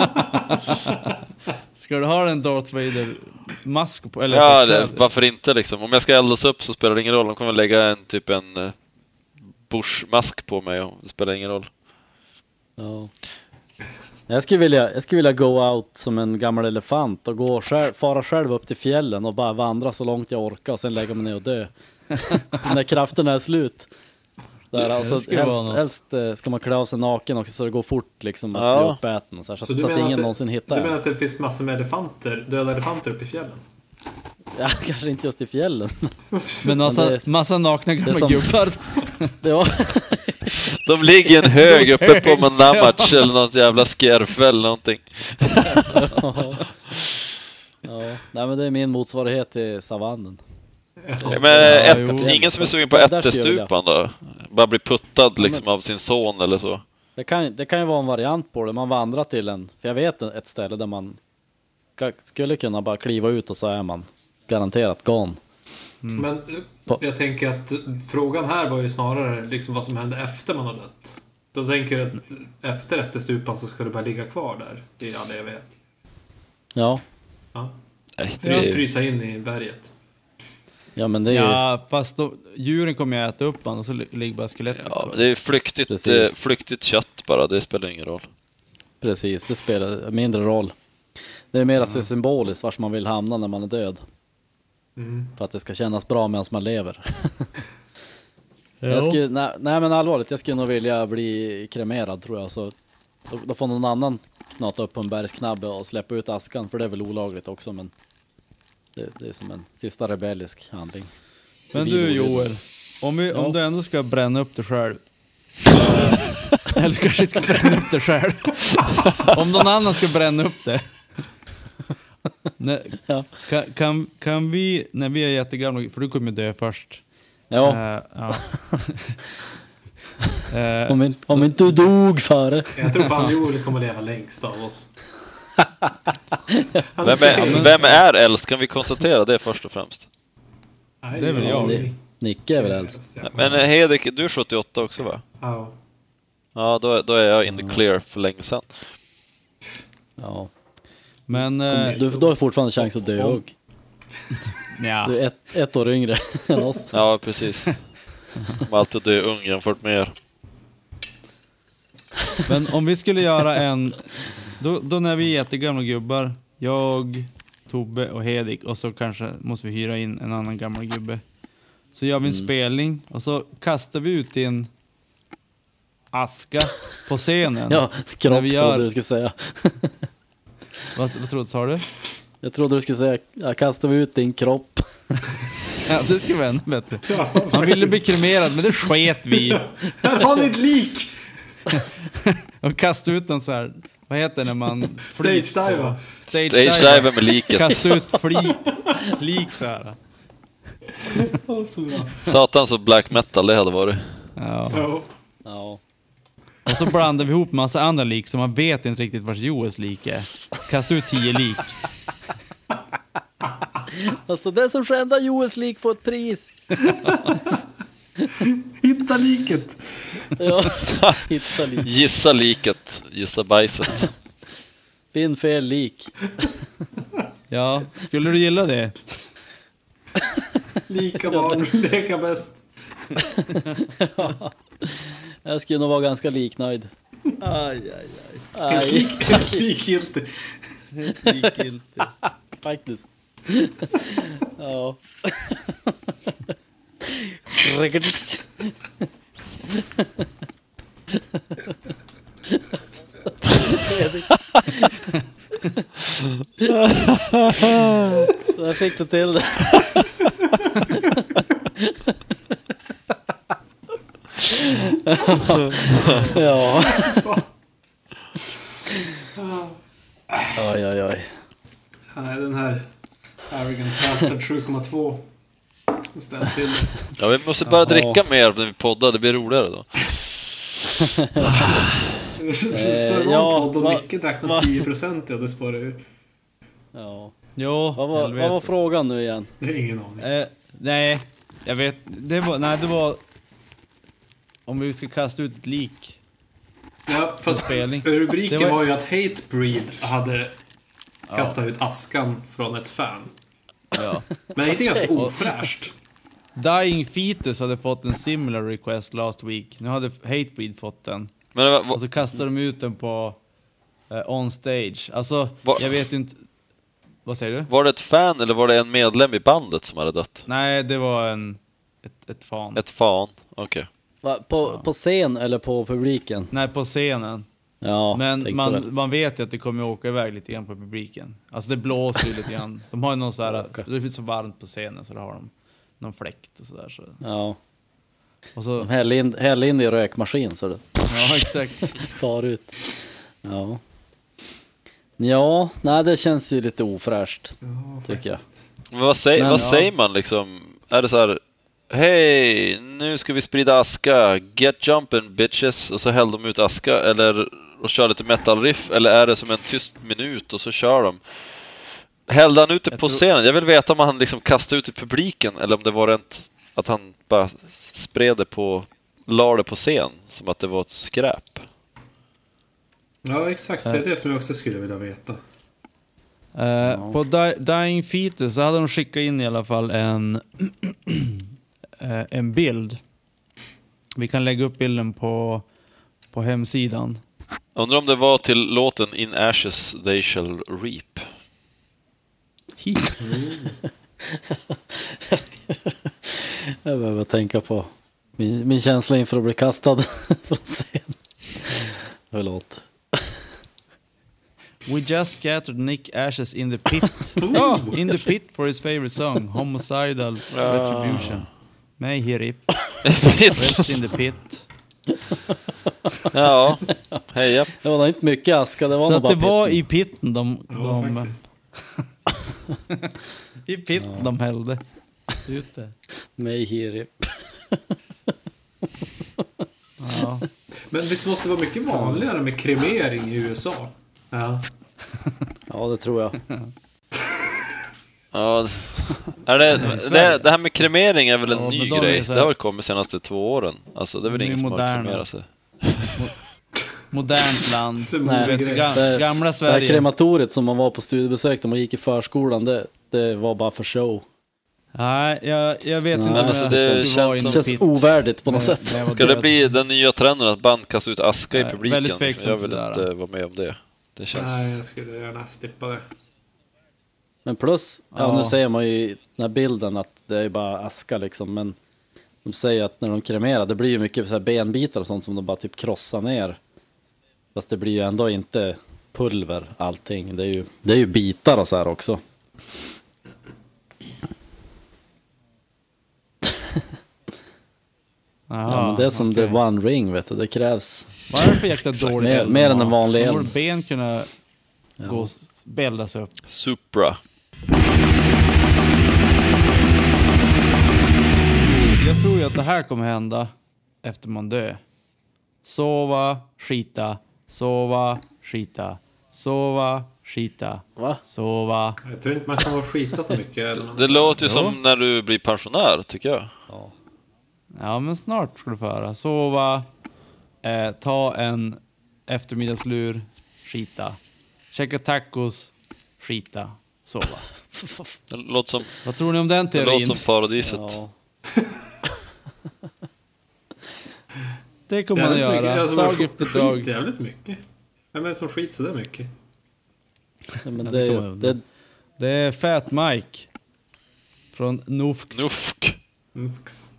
[SPEAKER 1] Ska du ha en Darth Vader-mask på? Eller
[SPEAKER 4] Ja,
[SPEAKER 1] på
[SPEAKER 4] det,
[SPEAKER 1] kläder?
[SPEAKER 4] varför inte liksom? Om jag ska eldas upp så spelar det ingen roll. De kommer lägga en typ en eh, Bush-mask på mig och det spelar ingen roll.
[SPEAKER 2] Ja. Jag skulle, vilja, jag skulle vilja go out som en gammal elefant och gå själv, fara själv upp till fjällen och bara vandra så långt jag orkar och sen lägga mig ner och dö. När krafterna är slut. Där, alltså,
[SPEAKER 1] skulle vara
[SPEAKER 2] helst,
[SPEAKER 1] något.
[SPEAKER 2] helst eh, ska man klä av sig naken också så det går fort liksom att
[SPEAKER 4] Ja.
[SPEAKER 2] bli uppäten och så, här, så,
[SPEAKER 3] Så
[SPEAKER 2] att-
[SPEAKER 3] du
[SPEAKER 2] så att
[SPEAKER 3] menar
[SPEAKER 2] ingen
[SPEAKER 3] att det-
[SPEAKER 2] någonsin hittar
[SPEAKER 3] Du
[SPEAKER 2] en.
[SPEAKER 3] menar att det finns massor med elefanter, döda elefanter uppe i fjällen?
[SPEAKER 2] Ja, kanske inte just i fjällen.
[SPEAKER 1] Men massa,
[SPEAKER 2] det-
[SPEAKER 1] massa nakna gamla
[SPEAKER 2] det är som-
[SPEAKER 1] gubbar.
[SPEAKER 2] Det var,
[SPEAKER 4] De ligger i en hög uppe på Manamach eller något jävla skärf eller någonting.
[SPEAKER 2] ja. Nej, men det är min motsvarighet till savannen.
[SPEAKER 4] Men eh,
[SPEAKER 1] Ja,
[SPEAKER 4] ett,
[SPEAKER 1] jo.
[SPEAKER 4] ingen som är sugen på
[SPEAKER 2] Det där skulle jag
[SPEAKER 4] ättestupan då? Bara bli puttad liksom av sin son eller så.
[SPEAKER 2] Det kan, det kan ju vara en variant på det, man vandrar till en, för jag vet ett ställe där man ka- skulle kunna bara kliva ut och så är man garanterat gone.
[SPEAKER 3] Men eh,
[SPEAKER 2] På-
[SPEAKER 3] jag tänker att frågan här var ju snarare liksom vad som hände efter man har dött. Då tänker jag att eh, efter ättestupan så ska du bara ligga kvar där i all evighet.
[SPEAKER 2] Ja,
[SPEAKER 3] Ja.
[SPEAKER 4] Nej, det
[SPEAKER 3] För att
[SPEAKER 4] är...
[SPEAKER 3] frysa in i berget.
[SPEAKER 2] ja men det är ju,
[SPEAKER 1] Ja, fast då, djuren kommer ju äta upp honom och så li- ligger bara skelettet
[SPEAKER 4] Ja,
[SPEAKER 1] kvar.
[SPEAKER 4] det är flyktigt,
[SPEAKER 2] Precis.
[SPEAKER 4] eh, flyktigt kött bara, det spelar ingen roll.
[SPEAKER 2] precis, det spelar mindre roll. Det är mer
[SPEAKER 1] Mm.
[SPEAKER 2] så symboliskt vart man vill hamna när man är död.
[SPEAKER 1] Mm.
[SPEAKER 2] För att det ska kännas bra medan man lever. Jag skulle, nej, nej men allvarligt, jag skulle nog vilja bli kremerad tror jag. Så då, då får någon annan knata upp på en bergsknabbe och släppa ut askan, för det är väl olagligt också men det, det är som en sista rebellisk handling.
[SPEAKER 1] Men du Joel, om, vi, om
[SPEAKER 2] Ja.
[SPEAKER 1] du ändå ska bränna upp dig själv. Eller du kanske ska bränna upp dig själv. om någon annan ska bränna upp det. Nej,
[SPEAKER 2] Ja.
[SPEAKER 1] kan, kan, kan vi, när vi är jättegamla, för du kommer dö först.
[SPEAKER 2] Ja,
[SPEAKER 1] Eh, ja. Eh,
[SPEAKER 2] om, in, om inte du dog före.
[SPEAKER 3] Jag tror fan Joel kommer leva längst av oss. Han
[SPEAKER 4] Vem
[SPEAKER 3] säger-
[SPEAKER 4] är, vem är äldst? Kan vi konstatera det först och främst?
[SPEAKER 3] Nej,
[SPEAKER 1] det är väl
[SPEAKER 3] ja,
[SPEAKER 1] jag.
[SPEAKER 3] ni-
[SPEAKER 2] Nicke är väl äldst.
[SPEAKER 3] Ja.
[SPEAKER 4] Men eh, Hedek, du är 78 också va?
[SPEAKER 3] Ja.
[SPEAKER 4] Ja, då, då är jag in the clear för länge sedan.
[SPEAKER 2] Ja.
[SPEAKER 1] men, eh,
[SPEAKER 2] Du, du har fortfarande chans att dö
[SPEAKER 1] Om-
[SPEAKER 2] och
[SPEAKER 1] ja.
[SPEAKER 2] Du är ett, ett år yngre än oss.
[SPEAKER 4] Ja, precis. Kommer alltid dö ung jämfört med er.
[SPEAKER 1] Men om vi skulle göra en... Då, då när vi är jättegamla gubbar, jag, Tobbe och Hedik och så kanske måste vi hyra in en annan gammal gubbe. Så gör vi en spelning och så kastar vi ut din aska på scenen.
[SPEAKER 2] Ja,
[SPEAKER 1] När
[SPEAKER 2] kropp
[SPEAKER 1] vi gör-
[SPEAKER 2] trodde du skulle säga.
[SPEAKER 1] Vad, vad trodde sa du?
[SPEAKER 2] Jag trodde du skulle säga, jag kastar ut din kropp.
[SPEAKER 1] Ja, det skulle vara ännu bättre. Han ville bli kremerad men det sket vi i.
[SPEAKER 3] Här har ni ett lik!
[SPEAKER 1] Och kastade ut den så här. Vad heter det när man...
[SPEAKER 3] Stage diva.
[SPEAKER 1] Stage
[SPEAKER 4] Det är
[SPEAKER 1] diver.
[SPEAKER 4] skivan med liket.
[SPEAKER 1] Kasta ut fli, lik så här.
[SPEAKER 3] Ja, så bra.
[SPEAKER 4] Satan så black metal det hade varit.
[SPEAKER 1] Ja.
[SPEAKER 3] Ja.
[SPEAKER 2] Ja,
[SPEAKER 1] Och så blandar vi ihop massa andra lik så man vet inte riktigt vars Joels lik är. Kasta ut tio lik.
[SPEAKER 2] alltså den som skändar Joels lik får ett pris.
[SPEAKER 3] Hitta liket!
[SPEAKER 2] Ja, hitta lik.
[SPEAKER 4] Gissa liket, gissa bajset.
[SPEAKER 2] Finn fel lik.
[SPEAKER 1] Ja, skulle du gilla det?
[SPEAKER 3] Lika barn, leka bäst.
[SPEAKER 2] Jag skulle nog vara ganska liknöjd. Aj, aj,
[SPEAKER 3] Helt
[SPEAKER 2] aj.
[SPEAKER 3] lik- helt likgiltig.
[SPEAKER 1] Likgiltigt.
[SPEAKER 2] faktiskt. Ja. Där fick du till det. ja. Oj, oj, oj.
[SPEAKER 3] Nej, den här Arrogant Bastard 7,2. Den ställer till det.
[SPEAKER 4] Ja, vi måste börja dricka mer när vi poddar, det blir roligare då.
[SPEAKER 3] Det Står det någon
[SPEAKER 2] ja,
[SPEAKER 3] podd och
[SPEAKER 2] va-
[SPEAKER 3] Nicke drack
[SPEAKER 2] va-
[SPEAKER 3] någon 10 procent, ja det spårar ur.
[SPEAKER 2] Ja.
[SPEAKER 1] Jo,
[SPEAKER 2] Vad var,
[SPEAKER 1] helvete.
[SPEAKER 2] vad var frågan nu igen?
[SPEAKER 3] Det är ingen aning.
[SPEAKER 1] Eh, nej, jag vet. Det var, nej, det var... Om vi ska kasta ut ett lik.
[SPEAKER 3] Ja, fast
[SPEAKER 1] spelning.
[SPEAKER 3] rubriken
[SPEAKER 1] Det
[SPEAKER 3] var...
[SPEAKER 1] var-
[SPEAKER 3] ju att Hatebreed hade kastat ut askan från ett fan.
[SPEAKER 1] Ja.
[SPEAKER 3] Men inte ganska ofräscht.
[SPEAKER 1] Dying Fetus hade fått en similar request last week. Nu hade Hatebreed fått den.
[SPEAKER 4] Men va- va-
[SPEAKER 1] Och så kastade de ut den på eh, on stage. Alltså,
[SPEAKER 4] Va-
[SPEAKER 1] jag vet inte... Vad säger du?
[SPEAKER 4] var det ett fan eller var det en medlem i bandet som hade dött?
[SPEAKER 1] Nej, det var en... Ett, ett fan.
[SPEAKER 4] Ett fan, okej.
[SPEAKER 2] Va, på, på scen eller på publiken?
[SPEAKER 1] Nej, på scenen.
[SPEAKER 2] Ja,
[SPEAKER 1] Men
[SPEAKER 2] tänkte
[SPEAKER 1] man,
[SPEAKER 2] väl.
[SPEAKER 1] man vet ju att det kommer att åka iväg lite grann på publiken. Alltså det blåser ju lite grann. De har ju någon så här,
[SPEAKER 2] Åka.
[SPEAKER 1] det är så varmt på scenen så då har de någon fläkt och sådär. Så.
[SPEAKER 2] Ja,
[SPEAKER 1] Och så,
[SPEAKER 2] de hällde in, hällde in i rökmaskin så det
[SPEAKER 1] ja exakt.
[SPEAKER 2] far ut. Ja. Ja, nej det känns ju lite ofräscht.
[SPEAKER 3] Ja,
[SPEAKER 2] Tycker jag.
[SPEAKER 3] faktiskt.
[SPEAKER 4] Men vad, säger,
[SPEAKER 2] Men,
[SPEAKER 4] vad
[SPEAKER 2] ja.
[SPEAKER 4] säger man liksom? Är det så här Hej, nu ska vi sprida aska, get jumpin bitches och så häller de ut aska eller och kör lite metal riff eller är det som en tyst minut och så kör de? Hällde han ut det
[SPEAKER 1] Jag
[SPEAKER 4] på
[SPEAKER 1] tror-
[SPEAKER 4] scenen? Jag vill veta om han liksom kastade ut det i publiken eller om det var rent att han bara spred det på, la det på scen som att det var ett skräp.
[SPEAKER 3] Ja, exakt. Det är det som jag också skulle vilja veta.
[SPEAKER 1] Eh, På Di- Dying Fetus så hade de skickat in i alla fall en, eh, en bild. Vi kan lägga upp bilden på, på hemsidan.
[SPEAKER 4] Undrar om det var till låten In Ashes They Shall Reap.
[SPEAKER 2] Jag behöver tänka på min, min känsla inför att bli kastad från scen. Förlåt.
[SPEAKER 1] We just scattered Nick Ashes in the pit. Ja, in the pit for his favorite song, Homicidal
[SPEAKER 2] Ah.
[SPEAKER 1] Retribution. May he rip. Rest in the pit.
[SPEAKER 4] Ja, heja
[SPEAKER 2] Det var nog inte mycket aska, det var
[SPEAKER 1] Så
[SPEAKER 2] nog
[SPEAKER 1] att
[SPEAKER 2] bara
[SPEAKER 1] det var
[SPEAKER 2] pitten.
[SPEAKER 1] i pitten de,
[SPEAKER 3] Ja,
[SPEAKER 1] de,
[SPEAKER 3] faktiskt.
[SPEAKER 1] i pitten de hällde ut det.
[SPEAKER 2] May he rip.
[SPEAKER 1] Ja.
[SPEAKER 3] Men visst måste det vara mycket vanligare med kremering i USA? Ja.
[SPEAKER 2] Ja, det tror jag.
[SPEAKER 4] Ja, d- är det, det, det här med kremering är väl en
[SPEAKER 1] Ja,
[SPEAKER 4] ny
[SPEAKER 1] men då är det
[SPEAKER 4] grej?
[SPEAKER 1] så
[SPEAKER 4] Det
[SPEAKER 1] här-
[SPEAKER 4] har väl kommit senaste två åren. Alltså det är väl
[SPEAKER 1] Det är
[SPEAKER 4] ingen som har
[SPEAKER 1] moderna.
[SPEAKER 4] kremerat sig.
[SPEAKER 1] Modernt land.
[SPEAKER 3] Så
[SPEAKER 1] Du vet,
[SPEAKER 3] grej.
[SPEAKER 1] ga-
[SPEAKER 2] Det-
[SPEAKER 1] gamla
[SPEAKER 2] Det här
[SPEAKER 1] Sverige.
[SPEAKER 2] krematoriet som man var på studiebesök när man gick i förskolan, det, det var bara för show.
[SPEAKER 1] Nej, jag, jag vet
[SPEAKER 2] Nej,
[SPEAKER 1] inte om
[SPEAKER 4] alltså
[SPEAKER 1] jag
[SPEAKER 4] det
[SPEAKER 1] skulle vara i
[SPEAKER 2] Det
[SPEAKER 4] känns
[SPEAKER 1] någon
[SPEAKER 2] känns
[SPEAKER 1] pit.
[SPEAKER 2] ovärdigt på något sätt.
[SPEAKER 1] när jag var
[SPEAKER 4] Ska det
[SPEAKER 1] död.
[SPEAKER 4] bli den nya trenden att band kastar ut aska i
[SPEAKER 1] Nej,
[SPEAKER 4] publiken? liksom?
[SPEAKER 1] väldigt tveksamt
[SPEAKER 4] Jag vill
[SPEAKER 1] till det där.
[SPEAKER 4] inte vara med om det. Det
[SPEAKER 3] Nej,
[SPEAKER 4] känns...
[SPEAKER 3] jag skulle gärna slippa det.
[SPEAKER 2] Men plus, ja,
[SPEAKER 1] Ja.
[SPEAKER 2] nu ser man ju i den här bilden att det är bara aska liksom, men de säger att när de kremerar, det blir ju mycket så här benbitar och sånt som de bara typ krossar ner. Fast det blir ju ändå inte pulver allting, det är ju, det är ju bitar och så här också. Ja, men det är som
[SPEAKER 1] Ah, okej.
[SPEAKER 2] the one ring vet du, det krävs.
[SPEAKER 1] Vad är det för jäkla dålig
[SPEAKER 2] Mer-
[SPEAKER 1] eld
[SPEAKER 2] mer
[SPEAKER 1] de
[SPEAKER 2] än
[SPEAKER 1] har?
[SPEAKER 2] en vanlig
[SPEAKER 1] De
[SPEAKER 2] eld.
[SPEAKER 1] Borde ben kunna gå och s- bäldas upp?
[SPEAKER 4] Supra.
[SPEAKER 1] Jag tror ju att det här kommer hända efter man dör. Sova, skita, sova, skita, sova, skita,
[SPEAKER 2] Va?
[SPEAKER 1] sova.
[SPEAKER 3] Jag tror inte man kan vara skita så mycket. Eller man...
[SPEAKER 4] Det låter ju som när du blir pensionär, tycker jag.
[SPEAKER 1] Ja, men snart ska du få höra. Sova, eh, ta en eftermiddagslur, skita, käka tacos, skita, sova.
[SPEAKER 4] Det låter som,
[SPEAKER 1] Vad tror ni om den
[SPEAKER 4] det låter
[SPEAKER 1] teorin?
[SPEAKER 4] som paradiset.
[SPEAKER 2] Ja.
[SPEAKER 1] Det kommer man att
[SPEAKER 3] Jävligt mycket.
[SPEAKER 1] göra,
[SPEAKER 3] Alltså, man
[SPEAKER 1] dag
[SPEAKER 3] skiter
[SPEAKER 1] efter dag.
[SPEAKER 3] jävligt mycket. Vem är det som skiter sådär mycket?
[SPEAKER 2] Ja, Men det, är
[SPEAKER 1] kommer
[SPEAKER 2] ju,
[SPEAKER 1] jag
[SPEAKER 2] det,
[SPEAKER 1] Det är Fat Mike från Nofx.
[SPEAKER 4] Nufk.
[SPEAKER 3] Nux.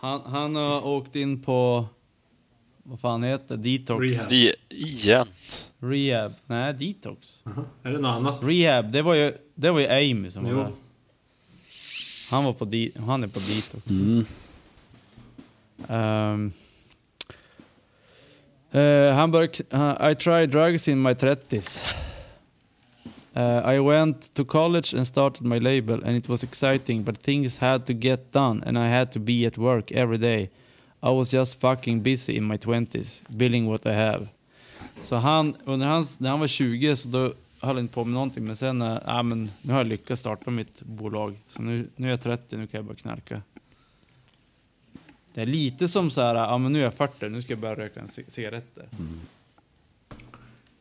[SPEAKER 1] Han, han har åkt in på, vad fan heter det? Detox?
[SPEAKER 3] Rehab.
[SPEAKER 4] I, igen.
[SPEAKER 1] Rehab. Nej, detox.
[SPEAKER 3] Aha. Är det något annat?
[SPEAKER 1] Rehab, det var ju, det var ju Amy som var
[SPEAKER 3] Alltså. Jo.
[SPEAKER 1] där. Han, var på di- han är på detox.
[SPEAKER 2] mm,
[SPEAKER 1] Ehm, eh, han började, han- I tried drugs in my 30s. Eh, I went to college and started my label and it was exciting but things had to get done and I had to be at work every day. I was just fucking busy in my 20s, building what I have. Så han, under hans, när han var 20 så då höll inte på med någonting. Men sen, eh, ja men nu har jag lyckats starta mitt bolag. Så nu, nu är jag 30, nu kan jag bara knarka. Det är lite som så här, ja men nu är jag 40, nu ska jag börja röka en c- cigaretter.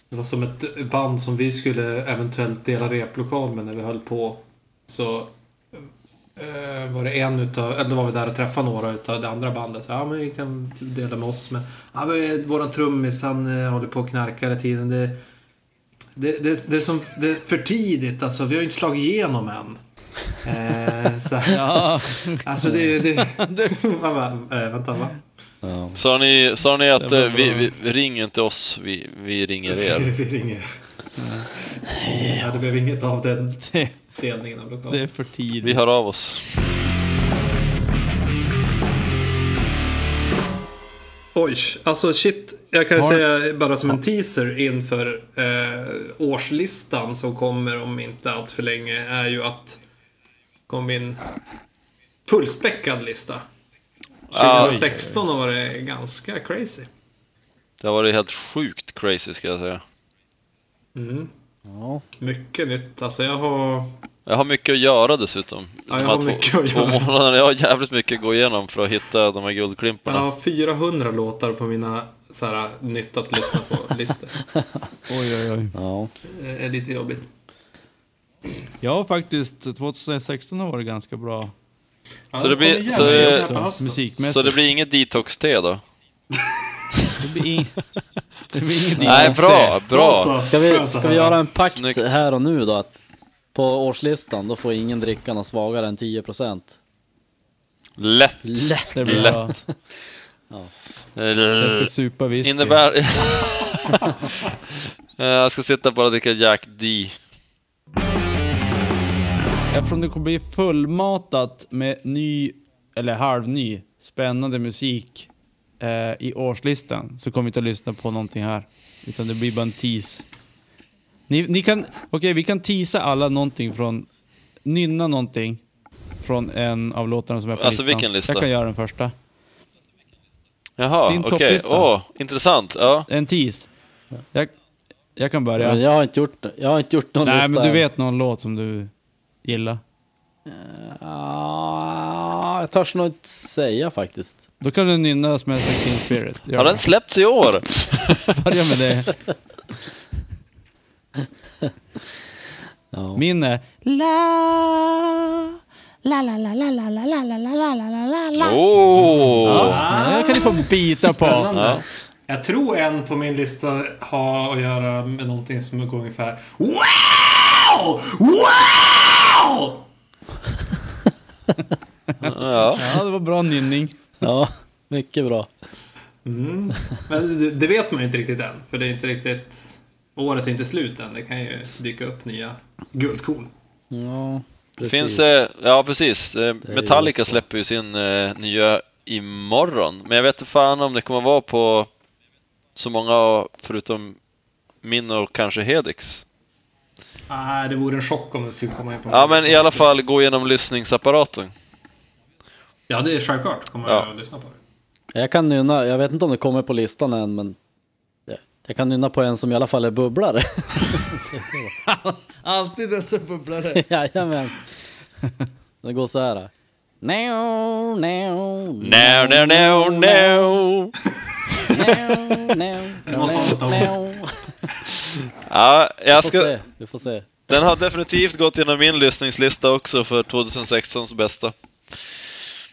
[SPEAKER 3] Det var som ett band som vi skulle eventuellt dela replokal med när vi höll på. Så eh, var det en utav, eller då var vi där och träffade några utav det andra bandet. Så ja men vi kan typ dela med oss. Men ja, vi- våran trummis han eh, håller på och knarkar hela tiden. Det, det, det, det, är som, det är för tidigt alltså. Vi har ju inte slagit igenom än. Eh, så,
[SPEAKER 1] Ja,
[SPEAKER 3] Alltså det... det man bara, eh, vänta va?
[SPEAKER 2] Ja.
[SPEAKER 4] Sa ni, sa ni att
[SPEAKER 1] Det var
[SPEAKER 4] eh, vi, vi, vi ringer inte oss, vi, vi ringer er?
[SPEAKER 3] Vi ringer. Ja, det blev inget av den
[SPEAKER 1] det,
[SPEAKER 3] delningen av lokalen.
[SPEAKER 1] det är för tidigt.
[SPEAKER 4] Vi hör av oss.
[SPEAKER 3] Oj, alltså shit. Jag kan
[SPEAKER 1] Har-
[SPEAKER 3] säga bara som en teaser inför eh, årslistan som kommer om inte allt för länge är ju att kom in fullspäckad lista.
[SPEAKER 4] Ah,
[SPEAKER 3] 2016 har varit ganska crazy.
[SPEAKER 4] Det har varit helt sjukt crazy ska jag säga.
[SPEAKER 3] Mm.
[SPEAKER 2] Ja.
[SPEAKER 3] Mycket nytt. Alltså jag har...
[SPEAKER 4] Jag har mycket att göra dessutom.
[SPEAKER 3] jag har mycket att
[SPEAKER 4] två
[SPEAKER 3] göra.
[SPEAKER 4] månaderna, jag har jävligt mycket att gå igenom för att hitta de här guldklimparna.
[SPEAKER 3] Jag har 400 låtar på mina så här, nytt att lyssna på-listor.
[SPEAKER 1] Oj, oj, oj.
[SPEAKER 2] ja.
[SPEAKER 3] Det är lite jobbigt.
[SPEAKER 1] Jag har faktiskt, 2016 har varit ganska bra.
[SPEAKER 3] Ja,
[SPEAKER 4] Så det blir-
[SPEAKER 3] kom igen,
[SPEAKER 4] så
[SPEAKER 3] vi
[SPEAKER 4] det-
[SPEAKER 3] gör här på
[SPEAKER 1] Så,
[SPEAKER 3] hösten.
[SPEAKER 1] musikmässigt.
[SPEAKER 4] Så det blir inget detox-te då?
[SPEAKER 1] Det blir, ing- det blir inget
[SPEAKER 4] Nej,
[SPEAKER 1] inkomst
[SPEAKER 4] bra, bra!
[SPEAKER 3] så,
[SPEAKER 2] Ska, vi,
[SPEAKER 3] skönt att
[SPEAKER 2] ska vi
[SPEAKER 3] höra.
[SPEAKER 2] göra en pakt
[SPEAKER 4] Snyggt.
[SPEAKER 2] här och nu då? Att på årslistan då får ingen dricka något svagare än 10%.
[SPEAKER 4] Lätt!
[SPEAKER 2] Lätt!
[SPEAKER 1] Det blir
[SPEAKER 4] Lätt.
[SPEAKER 1] bra. Jag ska supa whisky.
[SPEAKER 4] Innebär... Eh, jag ska sitta bara och dricka Jack D.
[SPEAKER 1] Eftersom det kommer bli fullmatat med ny, eller halvny, spännande musik eh, i årslistan så kommer vi inte att lyssna på någonting här. Utan det blir bara en tease. Ni, ni kan, okej vi kan teasa alla någonting från, nynna någonting från en av låtarna som är på
[SPEAKER 4] Alltså,
[SPEAKER 1] listan.
[SPEAKER 4] vilken lista?
[SPEAKER 1] Jag kan göra den första.
[SPEAKER 4] Jaha,
[SPEAKER 1] Din
[SPEAKER 4] okej.
[SPEAKER 1] topplista.
[SPEAKER 4] Åh, intressant. Ja.
[SPEAKER 1] En tease. Jag, jag kan börja.
[SPEAKER 2] Men jag har inte gjort, jag har inte gjort någon
[SPEAKER 1] Nej
[SPEAKER 2] lista
[SPEAKER 1] men du
[SPEAKER 2] än.
[SPEAKER 1] vet någon låt som du gillar?
[SPEAKER 2] Ah, jag törs nog inte säga faktiskt.
[SPEAKER 1] Då kan du nynna Smells Like Teen Spirit. Gör
[SPEAKER 4] Har den
[SPEAKER 1] det.
[SPEAKER 4] släppts i år?
[SPEAKER 1] Börja med det.
[SPEAKER 2] Ja.
[SPEAKER 1] Min eh, är La...
[SPEAKER 5] La la la la la la la la la la la la la la.
[SPEAKER 4] Åh!
[SPEAKER 1] Ja, det kan ni få bita på.
[SPEAKER 3] Spännande. Jag tror en på min lista har att göra med någonting som går ungefär Wow! Wow!
[SPEAKER 4] Ja.
[SPEAKER 1] Ja, det var bra nynning.
[SPEAKER 2] Ja, mycket bra.
[SPEAKER 3] Mm. Men det, det vet man ju inte riktigt än, för det är inte riktigt... Året är inte slut än, det kan ju dyka upp nya guldkorn.
[SPEAKER 2] Ja, precis.
[SPEAKER 4] Finns, eh, ja precis. Eh,
[SPEAKER 2] är
[SPEAKER 4] Metallica
[SPEAKER 2] just så.
[SPEAKER 4] släpper ju sin eh, nya imorgon. Men jag vet inte fan om det kommer vara på så många förutom min och kanske Hedix.
[SPEAKER 3] Nej, det vore en chock om det skulle komma in på
[SPEAKER 4] Ja
[SPEAKER 3] min
[SPEAKER 4] men
[SPEAKER 3] lista.
[SPEAKER 4] i alla fall gå igenom lyssningsapparaten.
[SPEAKER 3] Ja, det är självklart. Kommer
[SPEAKER 4] Ja.
[SPEAKER 3] jag att lyssna på det.
[SPEAKER 2] Jag kan nynna, jag vet inte om det kommer på listan än men jag- jag kan nynna på en som i alla fall är bubblare.
[SPEAKER 1] Alltid dessa bubblare.
[SPEAKER 2] Jajamän. Det går så här. No, no,
[SPEAKER 4] No, no, no, no!
[SPEAKER 3] Det måste vara nästa år.
[SPEAKER 4] Ja, jag
[SPEAKER 2] Vi får
[SPEAKER 4] ska,
[SPEAKER 2] se, vi får se.
[SPEAKER 4] den har definitivt gått igenom min lyssningslista också för 2016s bästa.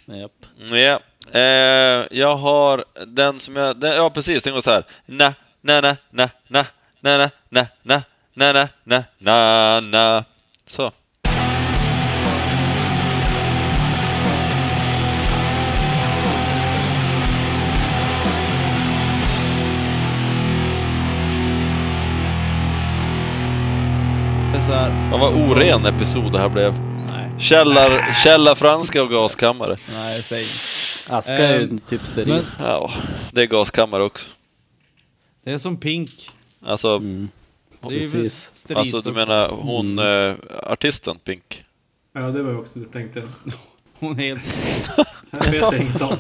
[SPEAKER 2] Japp.
[SPEAKER 4] Ja, eh, jag har den som jag... Den, ja, precis, den går så här. Na, na, na, na, na, na, na, na, na, na, na, na, na, na. Så.
[SPEAKER 1] Det är så här,
[SPEAKER 4] Fan vad oren episod det här blev.
[SPEAKER 1] nej,
[SPEAKER 4] Källar, källarfranska och gaskammare.
[SPEAKER 1] nej, säg inte.
[SPEAKER 2] Aska är ju
[SPEAKER 1] Ehm,
[SPEAKER 2] typ
[SPEAKER 1] Men
[SPEAKER 2] steril.
[SPEAKER 4] Ja, det är gaskammare också.
[SPEAKER 1] det är som Pink.
[SPEAKER 4] Alltså,
[SPEAKER 1] Det är väl
[SPEAKER 2] Precis.
[SPEAKER 1] Mm. strid
[SPEAKER 4] alltså du
[SPEAKER 1] också. Mm.
[SPEAKER 4] menar hon, eh, artisten Pink?
[SPEAKER 3] Ja, det var ju också det jag tänkte.
[SPEAKER 1] Hon är helt...
[SPEAKER 3] Det vet jag inte om.